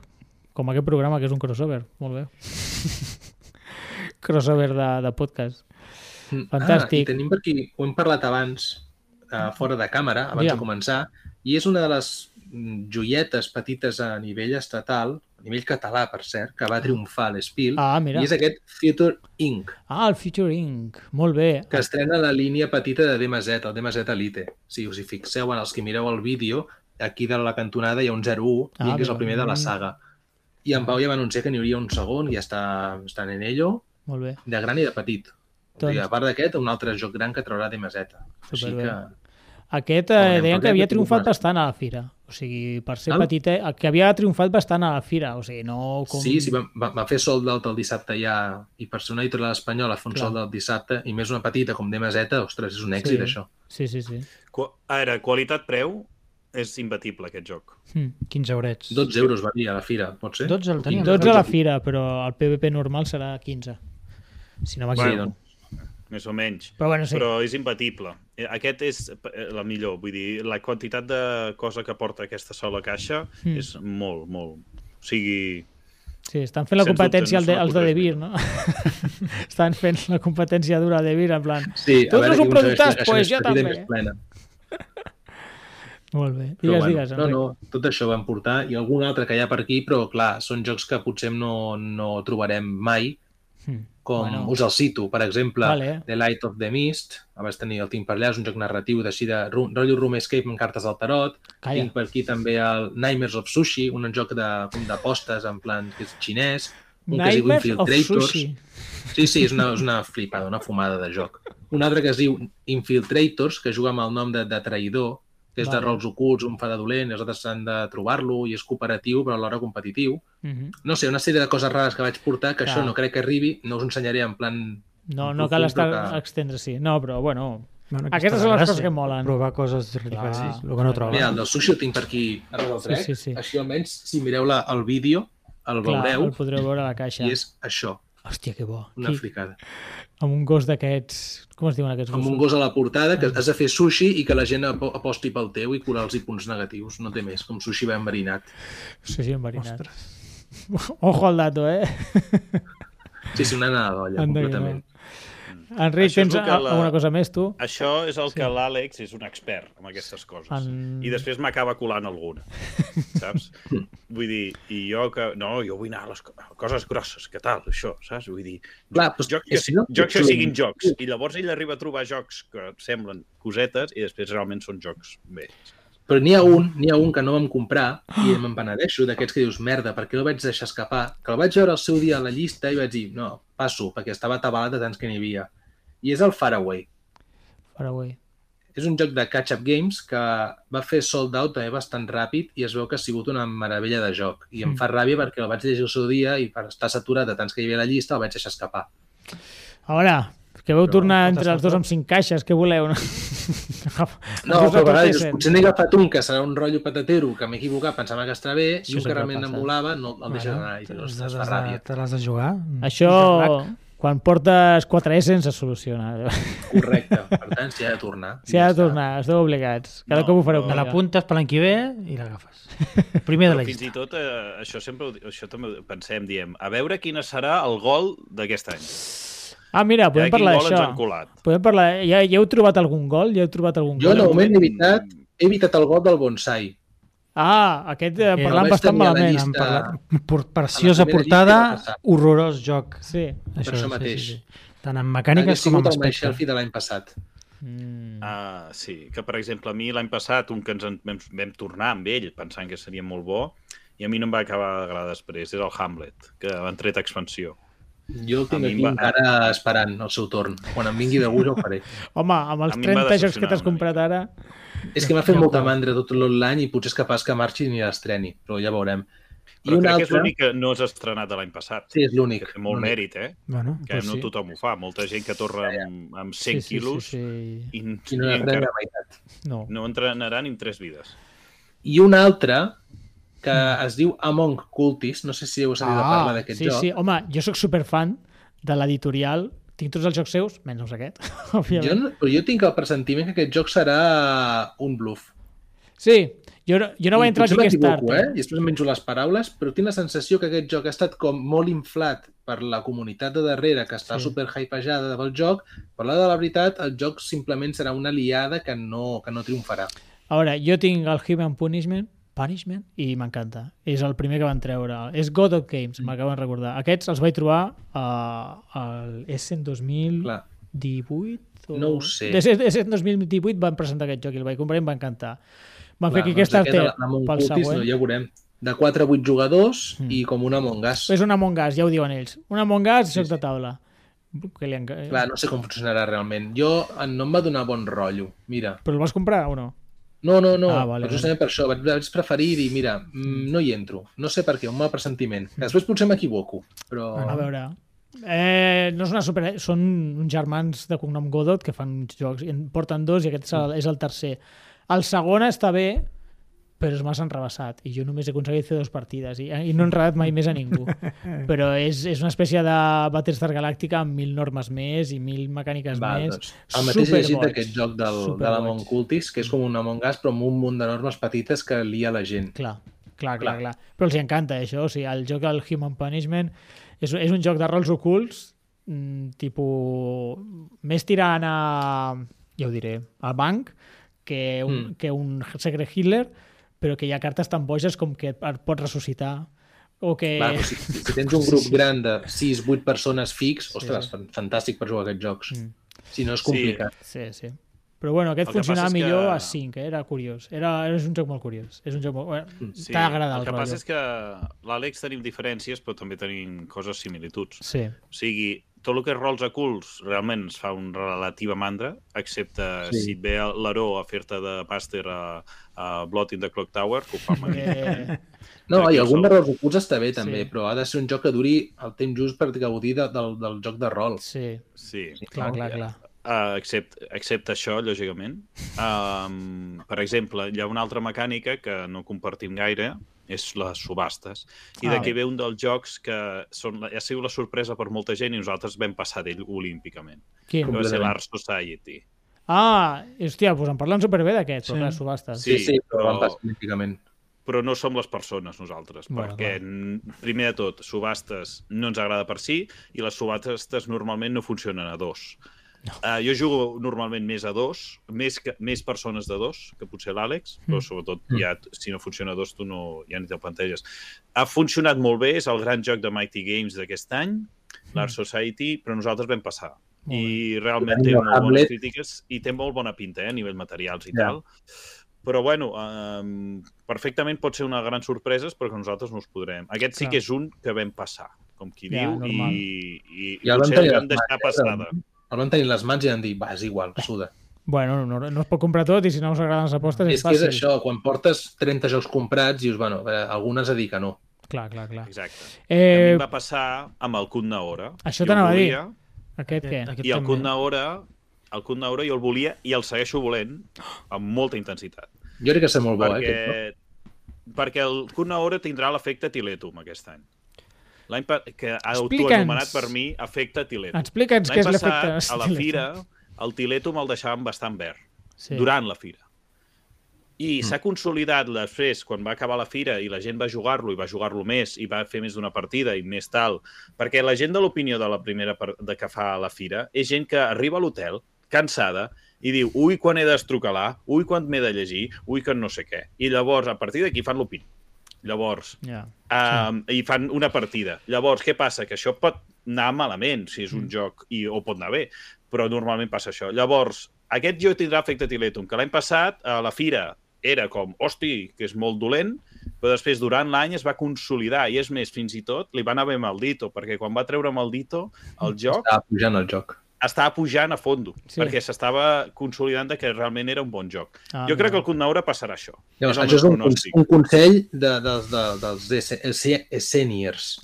[SPEAKER 1] Com aquest programa, que és un crossover. Molt bé. crossover de, de podcast. Fantàstic.
[SPEAKER 3] Ah, i tenim per aquí, ho hem parlat abans, uh, fora de càmera, abans
[SPEAKER 1] Digue'm.
[SPEAKER 3] de començar, i és una de les mm, joietes petites a nivell estatal, a nivell català, per cert, que va triomfar a l'Espil,
[SPEAKER 1] Ah, mira.
[SPEAKER 3] i és aquest Future Inc.
[SPEAKER 1] Ah, el Future Inc. Molt bé.
[SPEAKER 3] que estrena la línia petita de DMZ, el DMZ Elite. Si us hi fixeu, en els que mireu el vídeo, aquí de la cantonada hi ha un 01,
[SPEAKER 1] Ah,
[SPEAKER 3] ah, que és el
[SPEAKER 1] mira.
[SPEAKER 3] primer de la saga. I en Pau ja va anunciar que n'hi hauria un segon, i ja està, estan en ello,
[SPEAKER 1] Molt bé.
[SPEAKER 3] de gran i de petit. Doncs...
[SPEAKER 1] Doncs,
[SPEAKER 3] I a part d'aquest, un altre joc gran que traurà DMZ. Així
[SPEAKER 1] Superbé.
[SPEAKER 3] que,
[SPEAKER 1] aquest
[SPEAKER 3] veurem,
[SPEAKER 1] eh, deien que
[SPEAKER 3] perquè
[SPEAKER 1] havia
[SPEAKER 3] aquest
[SPEAKER 1] triomfat
[SPEAKER 3] programa-
[SPEAKER 1] bastant a la fira. O sigui, per ser
[SPEAKER 3] Val.
[SPEAKER 1] petit, eh, que havia triomfat bastant a la fira. O sigui, no com...
[SPEAKER 3] sí, sí, va, va, va fer sold out el dissabte ja, i per ser una editorial espanyola fa un
[SPEAKER 1] Clar.
[SPEAKER 3] sold out dissabte, i més una petita com DMZ, ostres, és un èxit,
[SPEAKER 1] Sí.
[SPEAKER 3] això.
[SPEAKER 1] Sí, sí, sí.
[SPEAKER 4] Qua- Ara, qualitat-preu és imbatible, aquest joc.
[SPEAKER 1] Hm.
[SPEAKER 2] 15 eurets.
[SPEAKER 3] 12 euros va dir a la fira, pot ser?
[SPEAKER 2] 12 el teníem.
[SPEAKER 1] 12 a la fira, però el PVP normal serà 15. Si no m'equivoco.
[SPEAKER 3] Sí, doncs.
[SPEAKER 4] Més o menys.
[SPEAKER 1] Però bueno, sí.
[SPEAKER 4] Però és imbatible. Eh, Aquest és eh, la millor. Vull dir, la quantitat de cosa que porta aquesta sola caixa
[SPEAKER 1] Mm.
[SPEAKER 4] mm. és molt, molt... O sigui,
[SPEAKER 1] Sí, estan fent la
[SPEAKER 4] Sens
[SPEAKER 1] competència
[SPEAKER 4] dubte,
[SPEAKER 1] dubte,
[SPEAKER 4] no
[SPEAKER 1] als
[SPEAKER 4] se
[SPEAKER 1] de
[SPEAKER 4] m'acut
[SPEAKER 1] Devir, no? estan fent la competència dura a Devir, en plan...
[SPEAKER 3] Sí, a
[SPEAKER 1] Tots
[SPEAKER 3] veure
[SPEAKER 1] els
[SPEAKER 3] qui
[SPEAKER 1] ho
[SPEAKER 3] aconsegueix
[SPEAKER 1] preguntàs,
[SPEAKER 3] la caixa
[SPEAKER 1] pues
[SPEAKER 3] més
[SPEAKER 1] jo
[SPEAKER 3] petita i
[SPEAKER 1] també.
[SPEAKER 3] més plena.
[SPEAKER 1] Molt bé.
[SPEAKER 3] Però
[SPEAKER 1] Digues,
[SPEAKER 3] bueno,
[SPEAKER 1] digues,
[SPEAKER 3] no,
[SPEAKER 1] Enric.
[SPEAKER 3] no, tot això vam portar i algun altre que hi ha per aquí, però clar, són jocs que potser no, no trobarem mai,
[SPEAKER 1] Hm.
[SPEAKER 3] com
[SPEAKER 1] Bueno.
[SPEAKER 3] bueno. us el cito, per exemple,
[SPEAKER 1] Vale. eh.
[SPEAKER 3] The Light of the Mist, abans tenir el tinc per allà, és un joc narratiu d'així de ru- rotllo room escape amb cartes del tarot,
[SPEAKER 1] Calla.
[SPEAKER 3] tinc per aquí també el Nightmares of Sushi, un joc de, com d'apostes, en plan que és xinès, un que es diu
[SPEAKER 1] Nightmares of
[SPEAKER 3] Infiltrators.
[SPEAKER 1] Sushi.
[SPEAKER 3] Sí, sí, és una, és una flipada, una fumada de joc. Un altre que es diu Infiltrators, que juga amb el nom de, de traïdor, que és
[SPEAKER 1] Vale.
[SPEAKER 3] de rols ocults, un fa de dolent, i els altres han de trobar-lo, i és cooperatiu, però alhora competitiu.
[SPEAKER 1] Mhm.
[SPEAKER 3] No sé, una sèrie de coses rares que vaig portar, que
[SPEAKER 1] Clar.
[SPEAKER 3] això no crec que arribi, no us ensenyaré en plan...
[SPEAKER 1] No,
[SPEAKER 3] Un
[SPEAKER 1] no cal
[SPEAKER 3] profund,
[SPEAKER 1] estar
[SPEAKER 3] però que-
[SPEAKER 1] extendre-s'hi. No, però bueno...
[SPEAKER 2] Bueno,
[SPEAKER 1] Aquestes són les coses que molen.
[SPEAKER 2] Provar coses diferents, el que no trobes.
[SPEAKER 3] Mira, el del sushi el tinc per aquí, ara el
[SPEAKER 1] Sí,
[SPEAKER 3] trec.
[SPEAKER 1] sí, sí.
[SPEAKER 3] Així almenys, si mireu la, el vídeo, el
[SPEAKER 1] Clar,
[SPEAKER 3] veureu,
[SPEAKER 1] el podreu veure a la caixa.
[SPEAKER 3] i és això,
[SPEAKER 1] Hòstia, que bo.
[SPEAKER 3] una
[SPEAKER 1] Qui,
[SPEAKER 3] fricada.
[SPEAKER 1] amb un gos d'aquests... Com es diuen aquests
[SPEAKER 3] Amb
[SPEAKER 1] gossos?
[SPEAKER 3] un gos a la portada, que has de fer sushi i que la gent apo- aposti pel teu i curar els i punts negatius, no té més, com sushi ben marinat.
[SPEAKER 1] Sushi enverinat.
[SPEAKER 2] Ostres.
[SPEAKER 1] Ojo al dato, eh?
[SPEAKER 3] Sí, sí, una anada d'olla,
[SPEAKER 1] Anda que
[SPEAKER 3] completament.
[SPEAKER 1] Enric,
[SPEAKER 4] Això és
[SPEAKER 1] tens
[SPEAKER 4] el que
[SPEAKER 1] a-
[SPEAKER 4] la-
[SPEAKER 1] alguna cosa més, tu?
[SPEAKER 4] això és el sí. que l'Àlex és un expert en aquestes coses.
[SPEAKER 1] En-
[SPEAKER 4] En... I després m'acaba colant alguna, saps? Vull dir, i jo que... No, jo vull anar a les co- a coses grosses, què tal, això, saps? Vull dir,
[SPEAKER 3] Clar, doncs,
[SPEAKER 4] jocs
[SPEAKER 3] és
[SPEAKER 4] que,
[SPEAKER 3] que no-
[SPEAKER 4] jocs que
[SPEAKER 3] sí.
[SPEAKER 4] siguin jocs. I llavors ell arriba a trobar jocs que semblen cosetes i després realment són jocs bé.
[SPEAKER 3] Però n'hi ha un, n'hi ha un que no vam comprar i me'n penedeixo d'aquests que dius, merda, per què el vaig deixar escapar? Que el vaig veure el seu dia a la llista i vaig dir, no, passo, perquè estava atabalat de tants que n'hi havia. I és el Faraway.
[SPEAKER 1] Paraguai.
[SPEAKER 3] És un joc de catch-up games que va fer sold out també bastant ràpid i es veu que ha sigut una meravella de joc. I em
[SPEAKER 1] Mm.
[SPEAKER 3] fa ràbia perquè el vaig llegir el seu dia i per estar saturat de tants que hi havia a la llista el vaig deixar escapar.
[SPEAKER 1] A veure, que veu
[SPEAKER 3] Però
[SPEAKER 1] tornar
[SPEAKER 2] tot
[SPEAKER 1] entre
[SPEAKER 2] està
[SPEAKER 1] els dos
[SPEAKER 2] tot.
[SPEAKER 1] amb cinc caixes, què voleu? No,
[SPEAKER 3] No,
[SPEAKER 1] Us
[SPEAKER 3] però a vegades dius,
[SPEAKER 1] apeteixen.
[SPEAKER 3] potser n'he agafat un que serà un rotllo patatero, que m'he equivocat, pensava que estava bé, i
[SPEAKER 2] Això és el
[SPEAKER 3] un que
[SPEAKER 2] que
[SPEAKER 3] realment
[SPEAKER 2] passa.
[SPEAKER 3] em volava, no el deixes anar. I dius,
[SPEAKER 2] te l'has
[SPEAKER 3] ostres, fa
[SPEAKER 2] de, Mm.
[SPEAKER 3] ràbia.
[SPEAKER 2] te l'has de jugar.
[SPEAKER 1] Això, Quan portes 4 S se soluciona.
[SPEAKER 3] Correcte. Per tant, s'hi ha de tornar.
[SPEAKER 1] S'hi ha
[SPEAKER 3] Ja
[SPEAKER 1] de
[SPEAKER 3] està.
[SPEAKER 1] tornar, esteu obligats. Cada
[SPEAKER 4] No,
[SPEAKER 1] cop ho fareu.
[SPEAKER 4] però-
[SPEAKER 2] Te
[SPEAKER 1] millor.
[SPEAKER 2] l'apuntes per l'any que ve i l'agafes. Primer de
[SPEAKER 4] Però
[SPEAKER 2] la
[SPEAKER 4] fins i
[SPEAKER 2] llista.
[SPEAKER 4] tot eh, això sempre ho di- això també ho pensem, diem, a veure quin serà el gol d'aquest any.
[SPEAKER 1] Ah, mira, podem
[SPEAKER 4] Podem quin
[SPEAKER 1] parlar
[SPEAKER 4] gol ens han
[SPEAKER 1] d'això.
[SPEAKER 4] colat.
[SPEAKER 1] Podem parlar... Ja, ja heu trobat algun gol? Ja heu trobat algun
[SPEAKER 3] Jo,
[SPEAKER 1] gol?
[SPEAKER 3] de moment, he evitat, he evitat el gol del bonsai.
[SPEAKER 1] Ah, aquest eh,
[SPEAKER 2] Eh,
[SPEAKER 1] parlant
[SPEAKER 3] el vaig
[SPEAKER 1] bastant
[SPEAKER 3] tenir a la
[SPEAKER 1] malament.
[SPEAKER 3] llista.
[SPEAKER 2] En parla- Por, preciosa
[SPEAKER 3] A la primera
[SPEAKER 2] portada,
[SPEAKER 3] llista i va passar.
[SPEAKER 2] horrorós joc.
[SPEAKER 1] Sí.
[SPEAKER 2] Això,
[SPEAKER 3] això
[SPEAKER 2] sí,
[SPEAKER 3] mateix.
[SPEAKER 2] Sí, sí. Tant en
[SPEAKER 3] Hauria
[SPEAKER 2] mecàniques com en
[SPEAKER 3] sigut el
[SPEAKER 2] aspecte.
[SPEAKER 3] MyShelfie de l'any passat.
[SPEAKER 1] Mm.
[SPEAKER 4] Ah, sí, que per exemple a mi l'any passat un que ens en vam, vam tornar amb ell pensant que seria molt bo i a mi no em va acabar d'agradar després, és el Hamlet, que han tret expansió.
[SPEAKER 3] Jo el
[SPEAKER 4] A
[SPEAKER 3] tinc
[SPEAKER 4] mi em
[SPEAKER 3] aquí
[SPEAKER 4] va-
[SPEAKER 3] encara esperant el seu torn. Quan em vingui de gust, ja ho faré.
[SPEAKER 1] Home, amb els
[SPEAKER 4] A mi em
[SPEAKER 1] 30
[SPEAKER 4] va
[SPEAKER 1] jocs que
[SPEAKER 4] decepcionar
[SPEAKER 1] t'has
[SPEAKER 4] una
[SPEAKER 1] comprat ara...
[SPEAKER 3] És que m'ha fet molta mandra tot l'any i potser és capaç que marxi ni l'estreni, però ja veurem. I
[SPEAKER 4] Però
[SPEAKER 3] un
[SPEAKER 4] crec que és
[SPEAKER 3] altre...
[SPEAKER 4] l'únic que no s'ha estrenat de l'any passat.
[SPEAKER 3] Sí, és l'únic.
[SPEAKER 4] Que té molt
[SPEAKER 3] L'únic.
[SPEAKER 4] mèrit, eh?
[SPEAKER 2] Bueno,
[SPEAKER 4] Que
[SPEAKER 1] Pues
[SPEAKER 4] no
[SPEAKER 1] sí.
[SPEAKER 4] tothom ho fa. Molta gent que torna amb, amb 100 quilos
[SPEAKER 1] Sí, sí,
[SPEAKER 4] i,
[SPEAKER 3] I no
[SPEAKER 4] i
[SPEAKER 3] n'aprèn
[SPEAKER 4] encara
[SPEAKER 3] la meitat.
[SPEAKER 1] sí. No.
[SPEAKER 4] no entrenaran ni en tres vides.
[SPEAKER 3] I un altre que es diu Among Cultists, no sé si heu sentit ah, a parlar d'aquest
[SPEAKER 1] Mm. sí,
[SPEAKER 3] joc.
[SPEAKER 1] sí. Home, jo sóc superfan de l'editorial. Tinc tots els jocs seus, menys aquest,
[SPEAKER 3] Jo,
[SPEAKER 1] òbviament.
[SPEAKER 3] no- però jo tinc el pressentiment que aquest joc serà un bluff.
[SPEAKER 1] Sí, jo, no- jo no vaig entrar
[SPEAKER 3] Potser
[SPEAKER 1] aquí aquest tard.
[SPEAKER 3] m'equivoco, eh? I després em menjo les paraules, però tinc la sensació que aquest joc ha estat com molt inflat per la comunitat de darrere, que està
[SPEAKER 1] Sí.
[SPEAKER 3] sí. superhypejada pel joc, però a la de la veritat, el joc simplement serà una liada que no, que no triomfarà.
[SPEAKER 1] A veure, jo tinc el Human Punishment, Punishment i m'encanta. És el primer que van treure. És God of
[SPEAKER 3] Mm.
[SPEAKER 1] Games, m'acaben de recordar. Aquests els vaig trobar eh, al Essen 2018.
[SPEAKER 3] Clar.
[SPEAKER 1] O...
[SPEAKER 3] No ho sé.
[SPEAKER 1] Des- des- Essen 2018 van presentar aquest joc i el vaig comprar i em va encantar. Van fer
[SPEAKER 3] Clar, doncs
[SPEAKER 1] aquí aquesta
[SPEAKER 3] aquest,
[SPEAKER 1] arte
[SPEAKER 3] la- la Among
[SPEAKER 1] pel
[SPEAKER 3] Cultists,
[SPEAKER 1] següent.
[SPEAKER 3] No, ja ho veurem. De 4 a 8 jugadors
[SPEAKER 1] Mm.
[SPEAKER 3] i com una Among Us.
[SPEAKER 1] És un Among Us, ja ho diuen ells. Un Among Us,
[SPEAKER 3] Sí,
[SPEAKER 1] joc
[SPEAKER 3] sí.
[SPEAKER 1] de taula. Que li enca... eh,
[SPEAKER 3] Clar, no sé com funcionarà realment. Jo eh, no em va donar bon rotllo, mira.
[SPEAKER 1] Però el vas comprar o no?
[SPEAKER 3] No, no, no,
[SPEAKER 1] Ah,
[SPEAKER 3] ah,
[SPEAKER 1] vale, vale.
[SPEAKER 3] vale, però justament per això vaig, vaig preferir dir, mira, mm, no hi entro, no sé per què, un mal pressentiment. Que Després potser m'equivoco, però...
[SPEAKER 1] A veure... Eh, no és una super... Són uns germans de cognom Godot que fan uns jocs. I en porten dos i aquest és
[SPEAKER 3] Mm.
[SPEAKER 1] el, és el tercer. El segon està bé, però és massa enrebaçat. I jo només he aconseguit fer dues partides i, i no he enredat mai més a ningú. Però és, és una espècie de Battlestar Galàctica amb mil normes més i mil mecàniques
[SPEAKER 3] Va,
[SPEAKER 1] més.
[SPEAKER 3] doncs, el mateix he llegit
[SPEAKER 1] Superboig.
[SPEAKER 3] d'aquest joc del, de la
[SPEAKER 1] Superboig.
[SPEAKER 3] Mont Cultis, que és com un Among Us, però amb un munt de normes petites que lia la gent.
[SPEAKER 1] Clar, clar, clar,
[SPEAKER 3] Clar.
[SPEAKER 1] clar. Però els hi encanta això, o sigui, el joc del Human Punishment és, és un joc de rols ocults, mm, tipus... més tirant a... ja ho diré, al banc, que un, mm.
[SPEAKER 3] Mm.
[SPEAKER 1] que un Secret Hitler, però que hi ha cartes tan boges com que et pots ressuscitar, o que...
[SPEAKER 3] Clar, o sigui, si tens un grup gran de 6-8 persones fix, ostres,
[SPEAKER 1] sí.
[SPEAKER 3] fan- fantàstic per jugar a aquests jocs.
[SPEAKER 1] Mm.
[SPEAKER 3] Si no és
[SPEAKER 4] Sí.
[SPEAKER 3] complicat.
[SPEAKER 1] Sí, sí. Però bueno, aquest
[SPEAKER 4] El que
[SPEAKER 1] funcionava
[SPEAKER 4] passa és que-
[SPEAKER 1] millor que... a 5, eh? era curiós. Era, és un joc molt curiós. És un joc molt... Bueno,
[SPEAKER 4] Sí,
[SPEAKER 1] T'ha agradat
[SPEAKER 4] el
[SPEAKER 1] el,
[SPEAKER 4] que
[SPEAKER 1] rotllo.
[SPEAKER 4] passa és que l'Àlex tenim diferències, però també tenim coses similituds.
[SPEAKER 1] Sí.
[SPEAKER 4] O sigui, tot el que és rols a culs realment ens fa un relativa mandra, excepte
[SPEAKER 3] Sí.
[SPEAKER 4] sí. si et ve l'Aró a fer-te de pàster a, a Blot in the Clock Tower, que ho fa amb aquell.
[SPEAKER 1] Eh,
[SPEAKER 3] No, i
[SPEAKER 4] Crec que
[SPEAKER 3] algun
[SPEAKER 4] sou-
[SPEAKER 3] de rols ocults està bé, també,
[SPEAKER 1] Sí.
[SPEAKER 3] però ha de ser un joc que duri el temps just per gaudir de, del, del joc de rol.
[SPEAKER 1] sí,
[SPEAKER 4] Sí.
[SPEAKER 1] clar, clar, clar.
[SPEAKER 4] Uh, excepte, excepte això, lògicament. Um, per exemple, hi ha una altra mecànica que no compartim gaire, és les subhastes. I
[SPEAKER 1] Ah.
[SPEAKER 4] d'aquí ve un dels jocs que són, la- ha sigut la sorpresa per molta gent i nosaltres vam passar d'ell olímpicament.
[SPEAKER 1] Quin?
[SPEAKER 4] Que va ser
[SPEAKER 3] Completament.
[SPEAKER 4] l'Art Society.
[SPEAKER 1] Ah, hòstia, doncs en parlem superbé d'aquest,
[SPEAKER 2] Sí.
[SPEAKER 1] però clar, subhastes.
[SPEAKER 4] Sí, però-
[SPEAKER 3] van passar significament.
[SPEAKER 4] però no som les persones nosaltres,
[SPEAKER 1] Bueno,
[SPEAKER 4] bueno, perquè n- primer de tot, subhastes no ens agrada per si i les subhastes normalment no funcionen a dos. No. Uh, jo jugo normalment més a dos, més, que, més persones de dos que potser l'Àlex, però
[SPEAKER 1] Mm.
[SPEAKER 4] sobretot
[SPEAKER 3] Mm.
[SPEAKER 4] ja, t- si no funciona a dos tu no, ja ni te'l planteges. Ha funcionat molt bé, és el gran joc de Mighty Games d'aquest any, l'Art Society, però nosaltres vam passar.
[SPEAKER 1] Mm. Molt bé.
[SPEAKER 4] I realment té
[SPEAKER 3] Tenim el
[SPEAKER 4] molt bones
[SPEAKER 3] Hamlet.
[SPEAKER 4] crítiques i té molt bona pinta eh, a nivell materials i
[SPEAKER 3] Ja.
[SPEAKER 4] tal. Però, bueno, um, perfectament pot ser una gran sorpresa, però que nosaltres no us podrem. Aquest sí
[SPEAKER 1] Clar.
[SPEAKER 4] que és un que vam passar, com qui
[SPEAKER 1] Ja,
[SPEAKER 4] diu,
[SPEAKER 1] normal.
[SPEAKER 4] i, i, i
[SPEAKER 3] Ja el vam
[SPEAKER 4] potser el
[SPEAKER 3] tenir
[SPEAKER 4] vam
[SPEAKER 3] les
[SPEAKER 4] deixar
[SPEAKER 3] mans, eh,
[SPEAKER 4] passada.
[SPEAKER 3] El van tenir a les mans i van dir, va, és igual, suda.
[SPEAKER 1] Bueno, no, no es pot comprar tot i si no us agraden les apostes és,
[SPEAKER 3] és que és
[SPEAKER 1] fàcil.
[SPEAKER 3] això, quan portes 30 jocs comprats, dius, bueno, eh, algunes a dir que no.
[SPEAKER 1] Clar, clar, clar.
[SPEAKER 4] Exacte. Eh... A mi
[SPEAKER 1] Eh,
[SPEAKER 4] em va passar amb el Kun Naora.
[SPEAKER 1] Això
[SPEAKER 4] Jo
[SPEAKER 1] t'anava a
[SPEAKER 4] el
[SPEAKER 1] dir.
[SPEAKER 4] volia,
[SPEAKER 1] Aquest què?
[SPEAKER 4] I el Kun Naora, el Kun Naora jo el volia i el segueixo volent amb molta intensitat.
[SPEAKER 3] Jo crec que serà molt bo, eh,
[SPEAKER 4] perquè,
[SPEAKER 3] aquest,
[SPEAKER 4] perquè el Kun Naora tindrà l'efecte Tiletum aquest any. L'any pa... que
[SPEAKER 1] Explica'ns.
[SPEAKER 4] autoanomenat per mi Efecte Tileto.
[SPEAKER 1] Explica'ns què és
[SPEAKER 4] L'any
[SPEAKER 1] l'efecte.
[SPEAKER 4] passat, a la
[SPEAKER 1] Stiletto.
[SPEAKER 4] fira, el Tileto me'l deixaven bastant verd,
[SPEAKER 1] Sí.
[SPEAKER 4] sí. durant la fira. I s'ha consolidat després, quan va acabar la fira i la gent va jugar-lo, i va jugar-lo més, i va fer més d'una partida i més tal, perquè la gent de l'opinió de la primera par- de que fa a la fira és gent que arriba a l'hotel, cansada, i diu, ui, quan he d'estrocalar, ui, quan m'he de llegir, ui, quan no sé què. I llavors, a partir d'aquí, fan l'opinió. Llavors,
[SPEAKER 1] Ja.
[SPEAKER 4] um, i fan una partida. Llavors, què passa? Que això pot anar malament, si és
[SPEAKER 1] Mm.
[SPEAKER 4] un joc, i, o pot anar bé, però normalment passa això. Llavors, aquest joc tindrà efecte Tiletum, que l'any passat a la fira era com, hosti, que és molt dolent, però després, durant l'any, es va consolidar, i és més, fins i tot, li va anar bé Maldito, perquè quan va treure Maldito el joc,
[SPEAKER 3] Estava pujant el joc.
[SPEAKER 4] estava pujant a fondo,
[SPEAKER 1] Mm. Sí.
[SPEAKER 4] sí. perquè s'estava consolidant de que realment era un bon joc.
[SPEAKER 1] Ah,
[SPEAKER 4] jo
[SPEAKER 1] mira.
[SPEAKER 4] crec que al Cotnaura passarà això.
[SPEAKER 3] Llavors,
[SPEAKER 4] el
[SPEAKER 3] això
[SPEAKER 4] meu
[SPEAKER 3] és un,
[SPEAKER 4] pronòstic.
[SPEAKER 3] un consell de, de, de, dels esse- esse- seniors.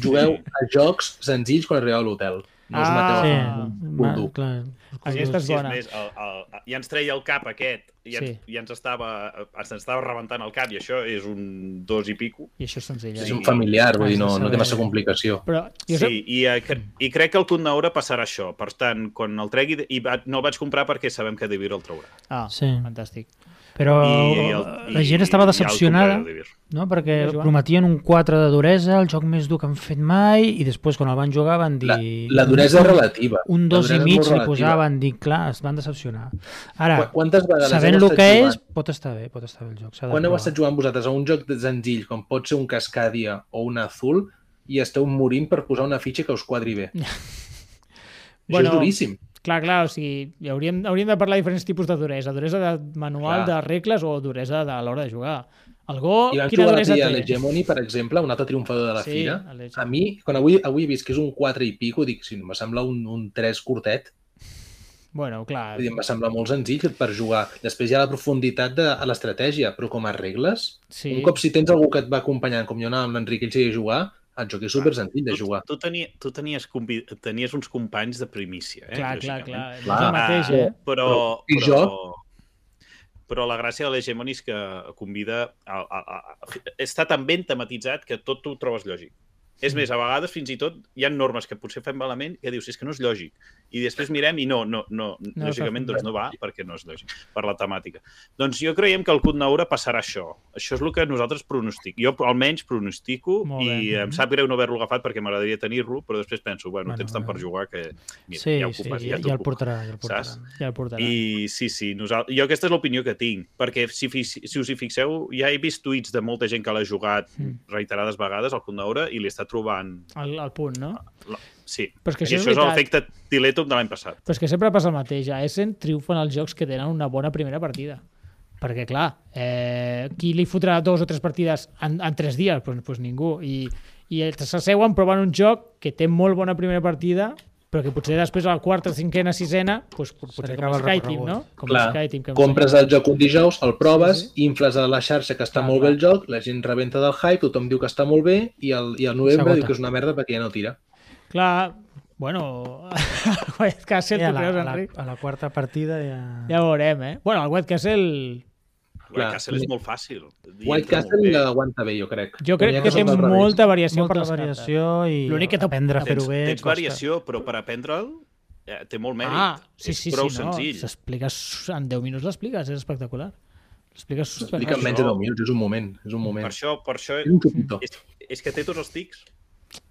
[SPEAKER 3] Jugueu a jocs senzills quan arribeu a l'hotel. No us
[SPEAKER 1] Ah.
[SPEAKER 3] mateu.
[SPEAKER 2] Sí,
[SPEAKER 1] Ah.
[SPEAKER 2] ma-
[SPEAKER 3] Punto.
[SPEAKER 2] clar.
[SPEAKER 1] Aquesta és
[SPEAKER 4] Sí,
[SPEAKER 1] bona.
[SPEAKER 4] és més, el, el, ja ens treia el cap aquest i ens,
[SPEAKER 1] Sí.
[SPEAKER 4] sí. i ens estava, ens estava rebentant el cap i això és un dos i pico.
[SPEAKER 1] I això és senzill.
[SPEAKER 3] És
[SPEAKER 1] eh?
[SPEAKER 3] un familiar, vull dir, no, no té massa
[SPEAKER 1] Sí.
[SPEAKER 3] complicació.
[SPEAKER 1] Però jo
[SPEAKER 4] Sí, i, eh, cre- i crec que el Cotnaura passarà això. Per tant, quan el tregui... I va, no el vaig comprar perquè sabem que Divir el traurà.
[SPEAKER 1] Ah,
[SPEAKER 2] Sí.
[SPEAKER 1] fantàstic.
[SPEAKER 2] Però la gent estava
[SPEAKER 4] i- i el
[SPEAKER 2] decepcionada,
[SPEAKER 4] compraré de Divir.
[SPEAKER 2] no? perquè
[SPEAKER 1] Sí, Joan.
[SPEAKER 2] prometien un 4 de duresa, el joc més dur que han fet mai, i després quan el van jugar van dir...
[SPEAKER 3] La, la duresa és relativa.
[SPEAKER 2] Un
[SPEAKER 3] La
[SPEAKER 2] dos i
[SPEAKER 3] duresa és
[SPEAKER 2] mig
[SPEAKER 3] molt
[SPEAKER 2] li
[SPEAKER 3] relativa.
[SPEAKER 2] posaven, dic, clar, es van decepcionar. Ara,
[SPEAKER 3] Qu- Quantes vegades
[SPEAKER 2] sabent
[SPEAKER 3] heu
[SPEAKER 2] el
[SPEAKER 3] estat
[SPEAKER 2] que
[SPEAKER 3] jugant?
[SPEAKER 2] és, pot estar bé, pot estar bé el joc. s'ha de
[SPEAKER 3] Quan heu
[SPEAKER 2] provar.
[SPEAKER 3] estat jugant vosaltres a un joc de- senzill, com pot ser un Cascadia o un Azul, i esteu morint per posar una fitxa que us quadri bé. Això
[SPEAKER 1] Bueno,
[SPEAKER 3] és duríssim.
[SPEAKER 1] Clar, clar, o sigui, hi hauríem, hauríem de parlar de diferents tipus de duresa. Duresa de manual, clar.
[SPEAKER 3] Clar.
[SPEAKER 1] de regles o duresa de l'hora de jugar. El Go,
[SPEAKER 3] I vam
[SPEAKER 1] quina
[SPEAKER 3] jugar
[SPEAKER 1] duresa
[SPEAKER 3] l'altre dia a
[SPEAKER 1] té?
[SPEAKER 3] l'Hegemony, per exemple, un altre triomfador de la
[SPEAKER 1] Sí,
[SPEAKER 3] fira.
[SPEAKER 1] a l'Hegemony.
[SPEAKER 3] A mi, quan avui, avui he vist que és un 4 i pico, dic, si em sembla un, un 3 curtet,
[SPEAKER 1] Bueno, clar.
[SPEAKER 3] Vull dir, em va semblar molt senzill per jugar. Després hi ha la profunditat de a l'estratègia, però com a regles,
[SPEAKER 1] Sí.
[SPEAKER 3] un cop si tens algú que et va acompanyant, com jo anava amb l'Enric, ell sabia jugar, el joc és super senzill de
[SPEAKER 4] Tu,
[SPEAKER 3] jugar.
[SPEAKER 4] tu, tenies, tu tenies, convi- tenies uns companys de primícia, eh?
[SPEAKER 1] Clar, clar,
[SPEAKER 4] lògicament.
[SPEAKER 1] clar. No és
[SPEAKER 3] Clar.
[SPEAKER 1] el mateix, eh?
[SPEAKER 4] Però,
[SPEAKER 3] Ah, I
[SPEAKER 4] però,
[SPEAKER 3] jo?
[SPEAKER 4] però la gràcia de l'hegemoni és que convida... A, a, a, està tan ben tematitzat que tot tu ho trobes lògic. És
[SPEAKER 3] Mm.
[SPEAKER 4] més, a vegades fins i tot hi ha normes que potser fem malament que dius, és que no és lògic. I després mirem i no, no, no,
[SPEAKER 1] No,
[SPEAKER 4] no
[SPEAKER 1] clar.
[SPEAKER 4] lògicament doncs no va perquè no és lògic, per la temàtica. Doncs jo creiem que al Club Naura passarà això. Això és el que nosaltres pronostic. Jo almenys pronostico
[SPEAKER 1] Molt
[SPEAKER 4] i
[SPEAKER 1] bé.
[SPEAKER 4] em sap greu no haver-lo agafat perquè m'agradaria tenir-lo, però després penso,
[SPEAKER 2] Bueno,
[SPEAKER 4] bueno, bueno tens tant per
[SPEAKER 2] bueno.
[SPEAKER 4] jugar que mira,
[SPEAKER 2] sí,
[SPEAKER 4] ja ho
[SPEAKER 2] sí,
[SPEAKER 4] ocuparé,
[SPEAKER 2] ja,
[SPEAKER 4] t'ho
[SPEAKER 2] ja el
[SPEAKER 4] ocupo.
[SPEAKER 2] portarà, ja el portarà.
[SPEAKER 4] Saps?
[SPEAKER 1] Ja el portarà.
[SPEAKER 4] I sí, sí, nosaltres, jo aquesta és l'opinió que tinc, perquè si, fi- si us hi fixeu, ja he vist tuits de molta gent que l'ha jugat
[SPEAKER 1] Hmm.
[SPEAKER 4] reiterades vegades al Condaura i li està trobant...
[SPEAKER 1] El, el punt, no?
[SPEAKER 4] La... Sí,
[SPEAKER 1] Però és que
[SPEAKER 4] I
[SPEAKER 1] això és
[SPEAKER 4] això és
[SPEAKER 1] veritat.
[SPEAKER 4] l'efecte Tiletum de l'any passat.
[SPEAKER 1] Però és que sempre passa el mateix. A Essen triomfen els jocs que tenen una bona primera partida. Perquè, clar, eh, qui li fotrà dos o tres partides en, en tres dies? Doncs pues, pues ningú. I, i ells s'asseuen, proven un joc que té molt bona primera partida, però que potser després a la quarta, cinquena, sisena, pues, pot-
[SPEAKER 2] li
[SPEAKER 1] potser com
[SPEAKER 2] acaba el
[SPEAKER 1] Skyteam,
[SPEAKER 2] recorregut.
[SPEAKER 1] no? Com
[SPEAKER 3] Clar,
[SPEAKER 1] Skyteam, que em
[SPEAKER 3] compres
[SPEAKER 1] sembla-
[SPEAKER 3] el joc un dijous, el proves, infles a la xarxa que està
[SPEAKER 1] Clar,
[SPEAKER 3] molt
[SPEAKER 1] clar.
[SPEAKER 3] bé el joc, la gent rebenta del hype, tothom diu que està molt bé i el, i el novembre
[SPEAKER 2] S'agota.
[SPEAKER 3] diu que és una merda perquè ja no tira.
[SPEAKER 1] Clar, bueno, el White Castle,
[SPEAKER 2] Sí, a,
[SPEAKER 1] tu
[SPEAKER 2] la,
[SPEAKER 1] creus,
[SPEAKER 2] a, la,
[SPEAKER 1] Enric?
[SPEAKER 2] a la quarta partida ja...
[SPEAKER 1] Ja veurem, eh? Bueno, el White Castle
[SPEAKER 4] White
[SPEAKER 3] Clar.
[SPEAKER 4] Castle és molt fàcil. I
[SPEAKER 3] White
[SPEAKER 4] entra
[SPEAKER 3] Castle
[SPEAKER 4] molt bé.
[SPEAKER 3] l'aguanta bé, jo crec.
[SPEAKER 1] jo crec
[SPEAKER 3] N'hi ha
[SPEAKER 1] que té
[SPEAKER 3] són al revés.
[SPEAKER 1] molta variació per
[SPEAKER 2] Molta
[SPEAKER 1] les cartes.
[SPEAKER 2] variació i
[SPEAKER 1] L'únic que t'ho-
[SPEAKER 2] aprendre a
[SPEAKER 4] Tens,
[SPEAKER 2] fer-ho bé
[SPEAKER 4] tens variació, però per aprendre'l eh, té molt mèrit.
[SPEAKER 1] Ah, sí, sí,
[SPEAKER 4] és prou
[SPEAKER 1] sí, no.
[SPEAKER 4] senzill.
[SPEAKER 1] S'explica s- en 10 minuts l'expliques, és espectacular. L'explica super.
[SPEAKER 3] Explica en menys de 10 minuts, és un moment, és un moment.
[SPEAKER 4] Per això, per això
[SPEAKER 3] És un xupito.
[SPEAKER 4] és, és que té tots els tics.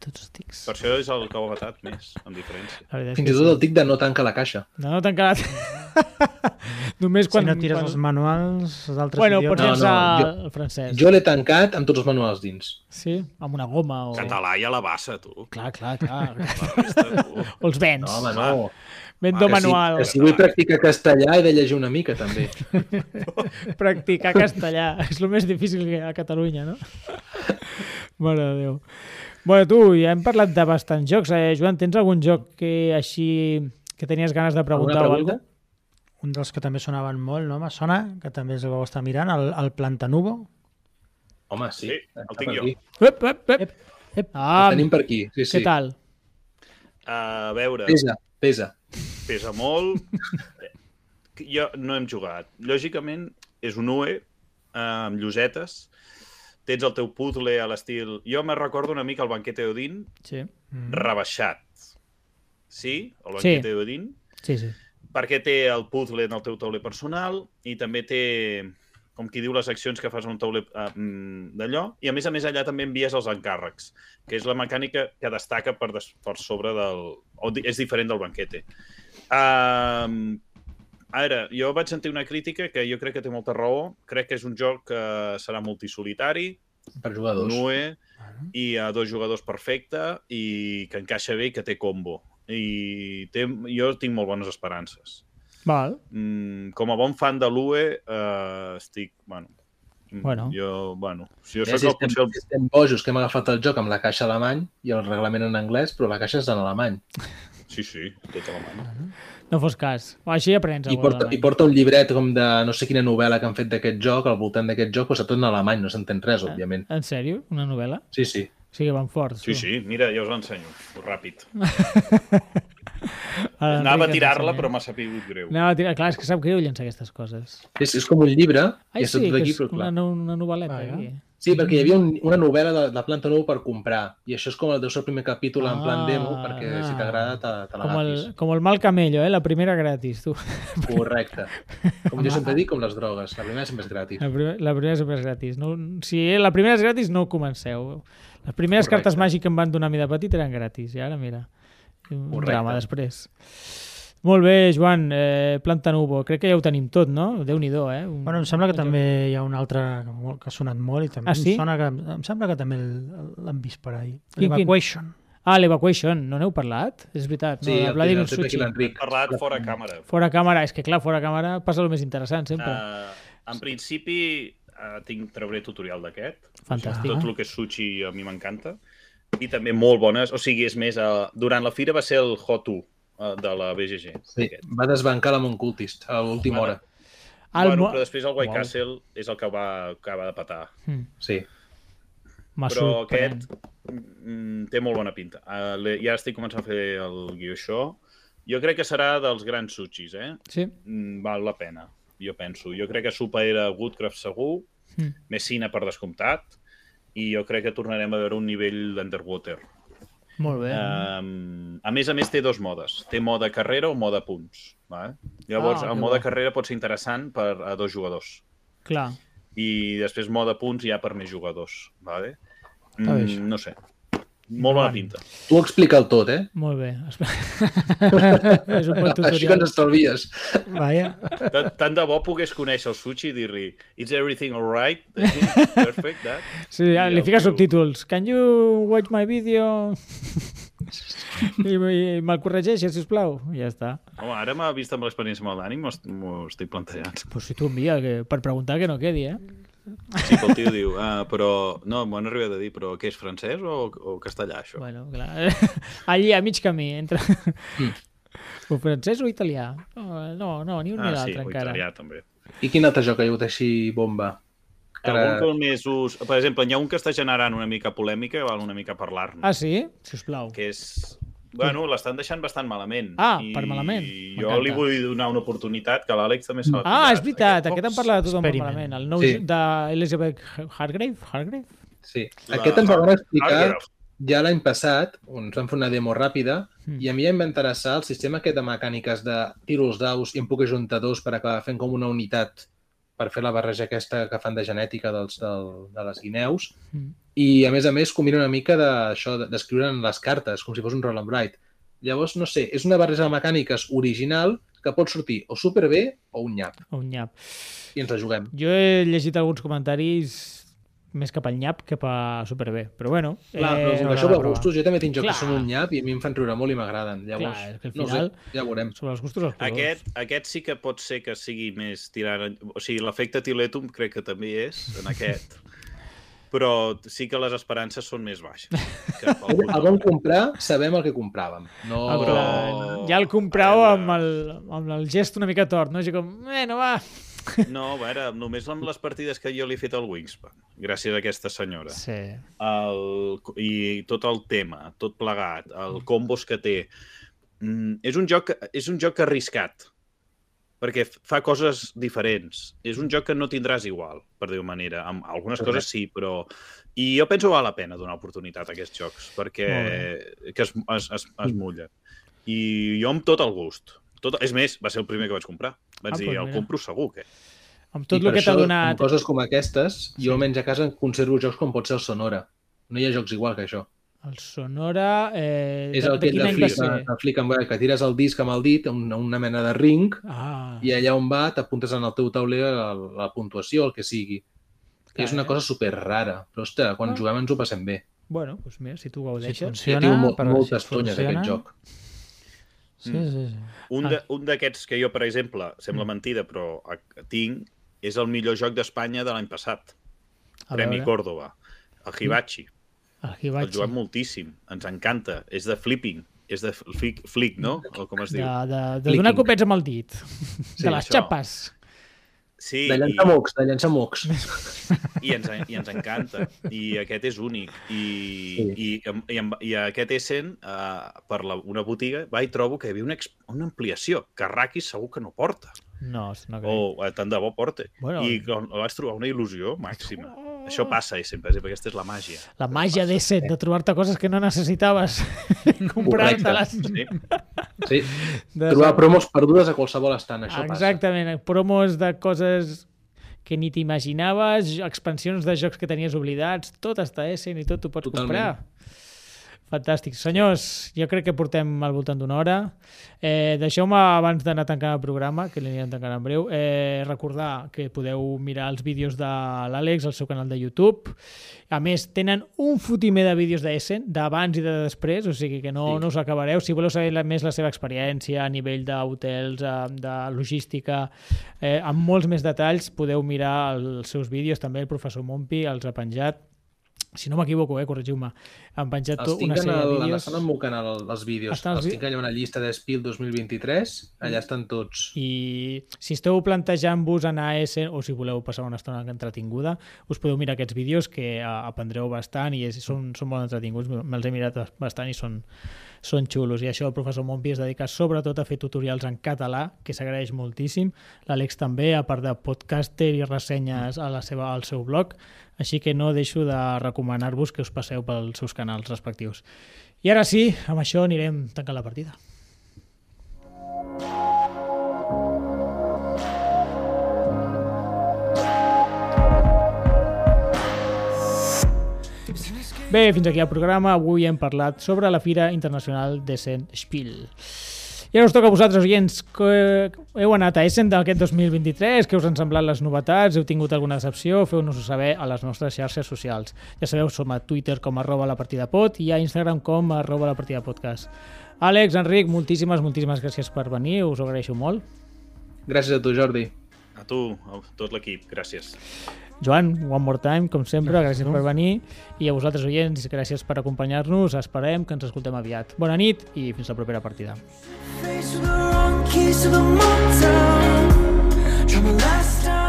[SPEAKER 2] Tots tics.
[SPEAKER 4] Per això és el que ho ha matat més, amb diferència.
[SPEAKER 1] La veritat és
[SPEAKER 3] Fins i
[SPEAKER 1] que
[SPEAKER 3] tot el tic de no tanca la caixa.
[SPEAKER 1] sí. No, no t'han quedat. Només quan...
[SPEAKER 2] si no tires
[SPEAKER 1] quan...
[SPEAKER 2] els manuals d'altres
[SPEAKER 1] Bueno,
[SPEAKER 2] idiomes...
[SPEAKER 1] pots
[SPEAKER 3] No, no,
[SPEAKER 1] llançar no,
[SPEAKER 3] jo-
[SPEAKER 1] el francès.
[SPEAKER 3] Jo l'he tancat amb tots els manuals dins.
[SPEAKER 1] Sí, amb una goma o...
[SPEAKER 4] Català i a la bassa, tu.
[SPEAKER 1] Clar, clar, clar.
[SPEAKER 4] La resta, tu.
[SPEAKER 1] o els vens. No,
[SPEAKER 3] No, home, no.
[SPEAKER 1] Vendo
[SPEAKER 4] que sí,
[SPEAKER 1] manual.
[SPEAKER 3] Que si vull practicar castellà he de llegir una mica, també.
[SPEAKER 1] practicar castellà. És el més difícil que hi ha a Catalunya, no? Mare de Déu. Bueno, tu, ja hem parlat de bastants jocs. Eh, Joan, tens algun joc que així que tenies ganes de
[SPEAKER 3] Alguna
[SPEAKER 1] preguntar o alguna
[SPEAKER 3] pregunta?
[SPEAKER 1] cosa?
[SPEAKER 2] Un dels que també sonaven molt, no? Me sona, que també es vau estar mirant, el, el Plantanubo.
[SPEAKER 3] Home, sí.
[SPEAKER 4] Sí, el
[SPEAKER 3] Està
[SPEAKER 4] tinc
[SPEAKER 3] per
[SPEAKER 4] jo.
[SPEAKER 3] aquí.
[SPEAKER 1] Ep, ep, ep.
[SPEAKER 2] Ep,
[SPEAKER 1] Ah,
[SPEAKER 3] El tenim per aquí, sí,
[SPEAKER 1] què
[SPEAKER 3] sí.
[SPEAKER 1] tal?
[SPEAKER 4] A veure, pesa,
[SPEAKER 3] Pesa, pesa.
[SPEAKER 4] pesa molt. jo no hem jugat. Lògicament, és un UE eh, amb llosetes. tens el teu puzzle a l'estil... Jo me recordo una mica el banquet d'Odin
[SPEAKER 1] Sí,
[SPEAKER 2] Mm.
[SPEAKER 4] rebaixat. Sí?
[SPEAKER 1] Sí.
[SPEAKER 4] El banquet d'Odin.
[SPEAKER 1] sí. sí.
[SPEAKER 4] perquè té el puzzle en el teu tauler personal i també té, com qui diu, les accions que fas en un tauler eh, mm, d'allò. I a més a més allà també envies els encàrrecs, que és la mecànica que destaca per, des, per sobre del... O di, és diferent del banquete. Um, ara, jo vaig sentir una crítica que jo crec que té molta raó. Crec que és un joc que serà multisolitari,
[SPEAKER 3] per jugadors. No,
[SPEAKER 4] Nue, i a dos jugadors perfecte i que encaixa bé i que té combo. I té, jo tinc molt bones esperances.
[SPEAKER 1] Val.
[SPEAKER 4] Mm, com a bon fan de l'UE, eh, estic, bueno... mm,
[SPEAKER 1] Bueno.
[SPEAKER 4] Jo, bueno, si jo
[SPEAKER 3] jo
[SPEAKER 4] soc
[SPEAKER 3] si
[SPEAKER 4] el
[SPEAKER 3] estem,
[SPEAKER 4] potser...
[SPEAKER 3] si estem bojos que hem agafat el joc amb la caixa alemany i el reglament en anglès, però la caixa és en alemany.
[SPEAKER 4] Sí, sí, tota la
[SPEAKER 1] Ah,
[SPEAKER 4] mà.
[SPEAKER 1] No fos cas. O així aprens.
[SPEAKER 3] I porta, I porta un llibret com de no sé quina novel·la que han fet d'aquest joc, al voltant d'aquest joc, però està tot en alemany, no s'entén res,
[SPEAKER 1] Ah.
[SPEAKER 3] òbviament.
[SPEAKER 1] En sèrio? Una novel·la?
[SPEAKER 3] Sí, sí.
[SPEAKER 1] O sigui, van forts.
[SPEAKER 4] Sí, sí, mira, ja us l'ensenyo, ràpid.
[SPEAKER 1] Ara,
[SPEAKER 4] Anava a
[SPEAKER 1] Enric,
[SPEAKER 4] tirar-la,
[SPEAKER 1] ens
[SPEAKER 4] però
[SPEAKER 1] ensenya.
[SPEAKER 4] m'ha sabut greu.
[SPEAKER 1] Anava a tirar... Clar, és que sap greu llançar aquestes coses.
[SPEAKER 3] És, és com un llibre,
[SPEAKER 1] Ai,
[SPEAKER 3] i està
[SPEAKER 1] sí,
[SPEAKER 3] tot
[SPEAKER 1] que
[SPEAKER 3] aquí,
[SPEAKER 1] és
[SPEAKER 3] però
[SPEAKER 1] una,
[SPEAKER 3] clar.
[SPEAKER 1] no- una novel·leta.
[SPEAKER 2] Vaja.
[SPEAKER 1] Aquí.
[SPEAKER 3] Sí, perquè hi havia un, una novel·la de, de planta nou per comprar, i això és com el deu ser el primer capítol en plan demo,
[SPEAKER 1] Ah.
[SPEAKER 3] perquè si t'agrada te, te
[SPEAKER 1] Com el,
[SPEAKER 3] l'agafis.
[SPEAKER 1] com el mal camello, eh? La primera gratis, tu.
[SPEAKER 3] Correcte. Com jo sempre dic, com les drogues, la primera sempre és gratis.
[SPEAKER 1] La, primer, la primera sempre és gratis. No, si la primera és gratis, no comenceu. Les primeres
[SPEAKER 4] Correcte.
[SPEAKER 1] cartes màgiques que em van donar a mi de petit eren gratis, i ara mira, un
[SPEAKER 3] Correcte.
[SPEAKER 1] drama després. Molt bé, Joan, eh, planta nubo. Crec que ja ho tenim tot, no? Déu-n'hi-do, eh? Un...
[SPEAKER 2] Bueno, em sembla que també hi ha un altre que, molt- que ha sonat molt i també
[SPEAKER 1] Ah,
[SPEAKER 2] em
[SPEAKER 1] sí?
[SPEAKER 2] sona que, em sembla que també el- l'han vist per ahí.
[SPEAKER 1] Quin, quin?
[SPEAKER 2] L'Evacuation.
[SPEAKER 1] Ah, l'Evacuation, no n'heu parlat? És veritat, no?
[SPEAKER 3] Sí,
[SPEAKER 1] de
[SPEAKER 3] el, el,
[SPEAKER 1] Vladimir
[SPEAKER 3] el, el,
[SPEAKER 1] Suchi.
[SPEAKER 4] He
[SPEAKER 3] l'Enric.
[SPEAKER 4] parlat fora càmera.
[SPEAKER 1] Fora càmera, és que clar, fora càmera passa el més interessant sempre.
[SPEAKER 4] Uh, en principi, uh, tinc trauré tutorial d'aquest.
[SPEAKER 1] Fantàstic.
[SPEAKER 4] Tot el que és sushi a mi m'encanta. I també molt bones. O sigui, és més, uh, durant la fira va ser el Hotu uh, de la BGG.
[SPEAKER 3] Sí,
[SPEAKER 4] aquest.
[SPEAKER 3] va desbancar la Moncultist a l'última hora.
[SPEAKER 1] Ah, el
[SPEAKER 4] bueno,
[SPEAKER 1] mo-
[SPEAKER 4] però després el White
[SPEAKER 1] Uau.
[SPEAKER 4] Castle és el que va acabar de petar.
[SPEAKER 1] Mm,
[SPEAKER 3] Sí.
[SPEAKER 1] m'ha
[SPEAKER 4] Però
[SPEAKER 1] sorprenent.
[SPEAKER 4] aquest mm, té molt bona pinta. Uh, l'he- ja estic començant a fer el guió això. Jo crec que serà dels grans sushis, eh?
[SPEAKER 1] Sí?
[SPEAKER 4] Mm, val la pena, jo penso. Jo crec que supera Woodcraft segur,
[SPEAKER 1] Mm.
[SPEAKER 4] Messina per descomptat, i jo crec que tornarem a veure un nivell d'Underwater.
[SPEAKER 1] Molt bé.
[SPEAKER 4] Um, a més a més té dos modes. Té mode carrera o mode punts. Va? Llavors,
[SPEAKER 1] Ah,
[SPEAKER 4] ah, el
[SPEAKER 1] que
[SPEAKER 4] mode
[SPEAKER 1] bo.
[SPEAKER 4] carrera pot ser interessant per a dos jugadors.
[SPEAKER 1] Clar.
[SPEAKER 4] I després mode punts ja per més jugadors. Vale?
[SPEAKER 2] Està bé, això.
[SPEAKER 4] Mm, no sé. Molt bona pinta.
[SPEAKER 3] Tu explica'l tot, eh?
[SPEAKER 1] Molt bé. Espera. és un bon
[SPEAKER 3] Així que
[SPEAKER 1] tutorial.
[SPEAKER 3] ens estalvies.
[SPEAKER 2] Vaja.
[SPEAKER 4] Tant tant de bo pogués conèixer el Sushi i dir-li Is everything alright? Perfect, that?
[SPEAKER 1] Sí,
[SPEAKER 4] I
[SPEAKER 1] li
[SPEAKER 4] el
[SPEAKER 1] fica
[SPEAKER 4] tio-
[SPEAKER 1] subtítols. Can you watch my video? I, i me'l corregeixes, sisplau. I ja està.
[SPEAKER 4] Home, ara m'ha vist amb l'experiència amb el Dani, m'ho est- m'ho estic plantejant.
[SPEAKER 1] Però si tu envia, que, per preguntar que no quedi, eh?
[SPEAKER 4] Sí, que el tio diu, ah, però... No, m'ho han arribat a dir, però què és, francès o, o castellà, això?
[SPEAKER 1] Bueno, clar. Allí, a mig camí, entre... O francès o italià? Oh, No, no, ni un ni
[SPEAKER 4] ah, sí,
[SPEAKER 1] l'altre
[SPEAKER 4] o
[SPEAKER 1] encara.
[SPEAKER 4] italià, també.
[SPEAKER 3] I quin altre joc ha hagut així bomba? Que
[SPEAKER 4] Algun
[SPEAKER 3] ara-
[SPEAKER 4] que el més us... Per exemple, n'hi ha un que està generant una mica polèmica i val una mica parlar-ne,
[SPEAKER 1] Ah, sí? Sisplau.
[SPEAKER 4] que és... Bueno, l'estan deixant bastant malament.
[SPEAKER 1] Ah, per malament.
[SPEAKER 4] I jo
[SPEAKER 1] M'encanta.
[SPEAKER 4] li vull donar una oportunitat, que l'Àlex també se l'ha
[SPEAKER 1] Ah, és
[SPEAKER 4] pillat.
[SPEAKER 1] veritat,
[SPEAKER 4] cop
[SPEAKER 1] aquest en parla de tothom molt
[SPEAKER 2] experiment.
[SPEAKER 1] malament. El nou
[SPEAKER 3] Sí.
[SPEAKER 1] sí. de Elizabeth Hargrave? Hargrave?
[SPEAKER 3] Sí.
[SPEAKER 4] La-
[SPEAKER 3] Aquest ens el van explicar
[SPEAKER 4] Hargrave.
[SPEAKER 3] ja l'any passat, on ens van fer una demo ràpida,
[SPEAKER 1] Mm.
[SPEAKER 3] i a mi em va interessar el sistema aquest de mecàniques de tiro els daus i em puc ajuntar dos per acabar fent com una unitat per fer la barreja aquesta que fan de genètica dels, del, de les guineus.
[SPEAKER 1] Mm.
[SPEAKER 3] I, a més a més, combina una mica d'això, de- d'escriure en les cartes, com si fos un roll and write. Llavors, no sé, és una barreja de mecàniques original que pot sortir o superbé o un nyap.
[SPEAKER 1] O un nyap.
[SPEAKER 3] I ens la juguem.
[SPEAKER 1] Jo he llegit alguns comentaris més cap al nyap que per superbé, però bueno...
[SPEAKER 3] Clar, eh,
[SPEAKER 1] s'haurà
[SPEAKER 3] però
[SPEAKER 1] de
[SPEAKER 3] això va a
[SPEAKER 1] provar.
[SPEAKER 3] gustos. Jo també tinc jocs
[SPEAKER 1] Clar.
[SPEAKER 3] que són un nyap i a mi em fan riure molt i m'agraden. Llavors,
[SPEAKER 1] Clar, és que al
[SPEAKER 3] no ho
[SPEAKER 1] final-
[SPEAKER 3] sé, ja ho veurem.
[SPEAKER 1] Sobre els gustos dels colors.
[SPEAKER 4] Aquest, aquest sí que pot ser que sigui més tirant... O sigui, l'efecte Tiletum crec que també hi és, en aquest. Però sí que les esperances són més baixes. Que pel
[SPEAKER 3] El, el vam
[SPEAKER 4] contrari.
[SPEAKER 3] comprar, sabem el que compràvem. No...
[SPEAKER 1] Ah, però ja el comprau amb el, amb el gest una mica tort, no? Així com, bueno, va...
[SPEAKER 4] No, a veure, només amb les partides que jo li he fet al Wingspan, gràcies a aquesta senyora.
[SPEAKER 1] Sí.
[SPEAKER 4] El, I tot el tema, tot plegat, Mm, el combos que té. Mm, és, un joc, és un joc arriscat, perquè f- fa coses diferents. És un joc que no tindràs igual, per dir-ho manera. Amb algunes
[SPEAKER 3] Correcte.
[SPEAKER 4] coses sí, però... I jo penso que val la pena donar oportunitat a aquests jocs, perquè que es, es, es, es
[SPEAKER 1] Mm.
[SPEAKER 4] mullen. I jo amb tot el gust. Tot... És més, va ser el primer que vaig comprar. Vaig
[SPEAKER 1] Ah,
[SPEAKER 4] ah, dir,
[SPEAKER 1] doncs
[SPEAKER 4] el
[SPEAKER 1] mira.
[SPEAKER 4] compro segur, que.
[SPEAKER 1] Amb tot
[SPEAKER 3] I
[SPEAKER 1] el
[SPEAKER 3] per
[SPEAKER 1] que t'ha
[SPEAKER 3] això,
[SPEAKER 1] donat...
[SPEAKER 3] Amb coses com aquestes, jo almenys a casa conservo jocs com pot ser el Sonora. No hi ha jocs igual que això.
[SPEAKER 1] El Sonora... Eh,
[SPEAKER 3] És
[SPEAKER 1] de- de
[SPEAKER 3] el que
[SPEAKER 1] quin
[SPEAKER 3] de
[SPEAKER 1] any va
[SPEAKER 3] flic,
[SPEAKER 1] ser?
[SPEAKER 3] de flic amb, que tires el disc amb el dit, una, una mena de ring,
[SPEAKER 1] Ah,
[SPEAKER 3] i allà on va t'apuntes en el teu tauler la, la puntuació, el que sigui.
[SPEAKER 1] Clar,
[SPEAKER 3] Clar, és una
[SPEAKER 1] eh?
[SPEAKER 3] cosa super rara, però ostres, quan
[SPEAKER 1] Ah.
[SPEAKER 3] juguem ens ho passem bé.
[SPEAKER 1] bueno, doncs mira, si tu
[SPEAKER 2] Si
[SPEAKER 1] gaudeixes...
[SPEAKER 3] Jo
[SPEAKER 2] funciona,
[SPEAKER 3] tinc mo
[SPEAKER 2] per-
[SPEAKER 3] moltes
[SPEAKER 2] si
[SPEAKER 3] tonyes
[SPEAKER 2] funciona,
[SPEAKER 3] d'aquest joc.
[SPEAKER 2] Sí,
[SPEAKER 4] Mm.
[SPEAKER 2] sí, sí.
[SPEAKER 4] Un
[SPEAKER 1] Ah. Mm.
[SPEAKER 4] de- un d'aquests que jo, per exemple, sembla mentida, però a- tinc, és el millor joc d'Espanya de l'any passat.
[SPEAKER 1] A
[SPEAKER 4] Premi
[SPEAKER 1] veure, Mm.
[SPEAKER 4] Córdoba. El Hibachi.
[SPEAKER 1] el
[SPEAKER 4] El
[SPEAKER 1] Hibachi,
[SPEAKER 4] juguem moltíssim. Ens encanta. És de flipping. És de flick, flick no? O com es
[SPEAKER 1] de,
[SPEAKER 4] diu?
[SPEAKER 1] de, de donar
[SPEAKER 3] Clicking.
[SPEAKER 1] copets amb el dit, de les
[SPEAKER 4] això.
[SPEAKER 1] xapes.
[SPEAKER 4] Sí,
[SPEAKER 3] De
[SPEAKER 4] i,
[SPEAKER 3] llançar mocs, de llançar mocs.
[SPEAKER 4] i, ens, i ens encanta. I aquest és únic. I, sí. i, em- i, em- i aquest Essen, uh, per la, una botiga, va i trobo que hi havia una, ex- una ampliació que Rakis segur que no porta.
[SPEAKER 1] No, no crec.
[SPEAKER 4] O eh, tant de bo porta.
[SPEAKER 1] Bueno.
[SPEAKER 4] Bueno, I com- la vaig trobar una il·lusió màxima. Això passa, i sempre, sempre, aquesta és la màgia.
[SPEAKER 1] La màgia de set, de trobar-te coses que no necessitaves. Comprar-te-les.
[SPEAKER 4] Sí.
[SPEAKER 3] Sí.
[SPEAKER 1] De...
[SPEAKER 3] Trobar promos perdudes a qualsevol estant, això
[SPEAKER 1] Exactament, promos de coses que ni t'imaginaves, expansions de jocs que tenies oblidats, tot està Essen i tot ho pots
[SPEAKER 3] Totalment.
[SPEAKER 1] comprar. Fantàstic. Senyors, jo crec que portem al voltant d'una hora. Eh, Deixeu-me, abans d'anar tancant el programa, que l'anirem tancant en breu, eh, recordar que podeu mirar els vídeos de l'Àlex al seu canal de YouTube. A més, tenen un fotimer de vídeos d'Essen, d'abans i de després, o sigui que no, sí.
[SPEAKER 3] Sí.
[SPEAKER 1] no us acabareu. Si voleu saber la, més la seva experiència a nivell d'hotels, eh, de logística, eh, amb molts més detalls, podeu mirar els seus vídeos. També el professor Mompi els ha penjat. Si no m'equivoco, eh, corregiu-me. Han penjat
[SPEAKER 3] Els
[SPEAKER 1] tot una
[SPEAKER 3] tinc en
[SPEAKER 1] sèrie
[SPEAKER 3] el,
[SPEAKER 1] de vídeos.
[SPEAKER 3] estan al meu canal, els vídeos.
[SPEAKER 1] Estan els
[SPEAKER 3] els
[SPEAKER 1] vi-
[SPEAKER 3] tinc allà una llista de Spiel 2023, allà estan tots.
[SPEAKER 1] i si esteu plantejant-vos anar a Essen o si voleu passar una estona entretinguda us podeu mirar aquests vídeos que eh, aprendreu bastant i és, són, són molt entretinguts me'ls he mirat bastant i són, són xulos i això el professor Montpi es dedica sobretot a fer tutorials en català que s'agraeix moltíssim l'Àlex també, a part de podcaster i ressenyes a la seva, al seu blog així que no deixo de recomanar-vos que us passeu pels seus canals respectius i ara sí, amb això anirem tancant la partida Bé, fins aquí el programa. Avui hem parlat sobre la Fira Internacional d'Essen Spiel. I ara us toca a vosaltres, oients, que heu anat a Essen d'aquest 2023, que us han semblat les novetats, heu tingut alguna decepció, feu-nos-ho saber a les nostres xarxes socials. Ja sabeu, som a Twitter com arroba la partida pot i a Instagram com arroba la partida podcast. Àlex, Enric, moltíssimes, moltíssimes gràcies per venir, us ho agraeixo molt.
[SPEAKER 3] Gràcies a tu, Jordi.
[SPEAKER 4] A tu, a tot l'equip, gràcies.
[SPEAKER 1] Joan, one more time, com sempre, gràcies per venir i a vosaltres, oients, gràcies per acompanyar-nos. Esperem que ens escoltem aviat. Bona nit i fins la propera partida.
[SPEAKER 6] Face with the wrong keys to the motown. Trouble last time.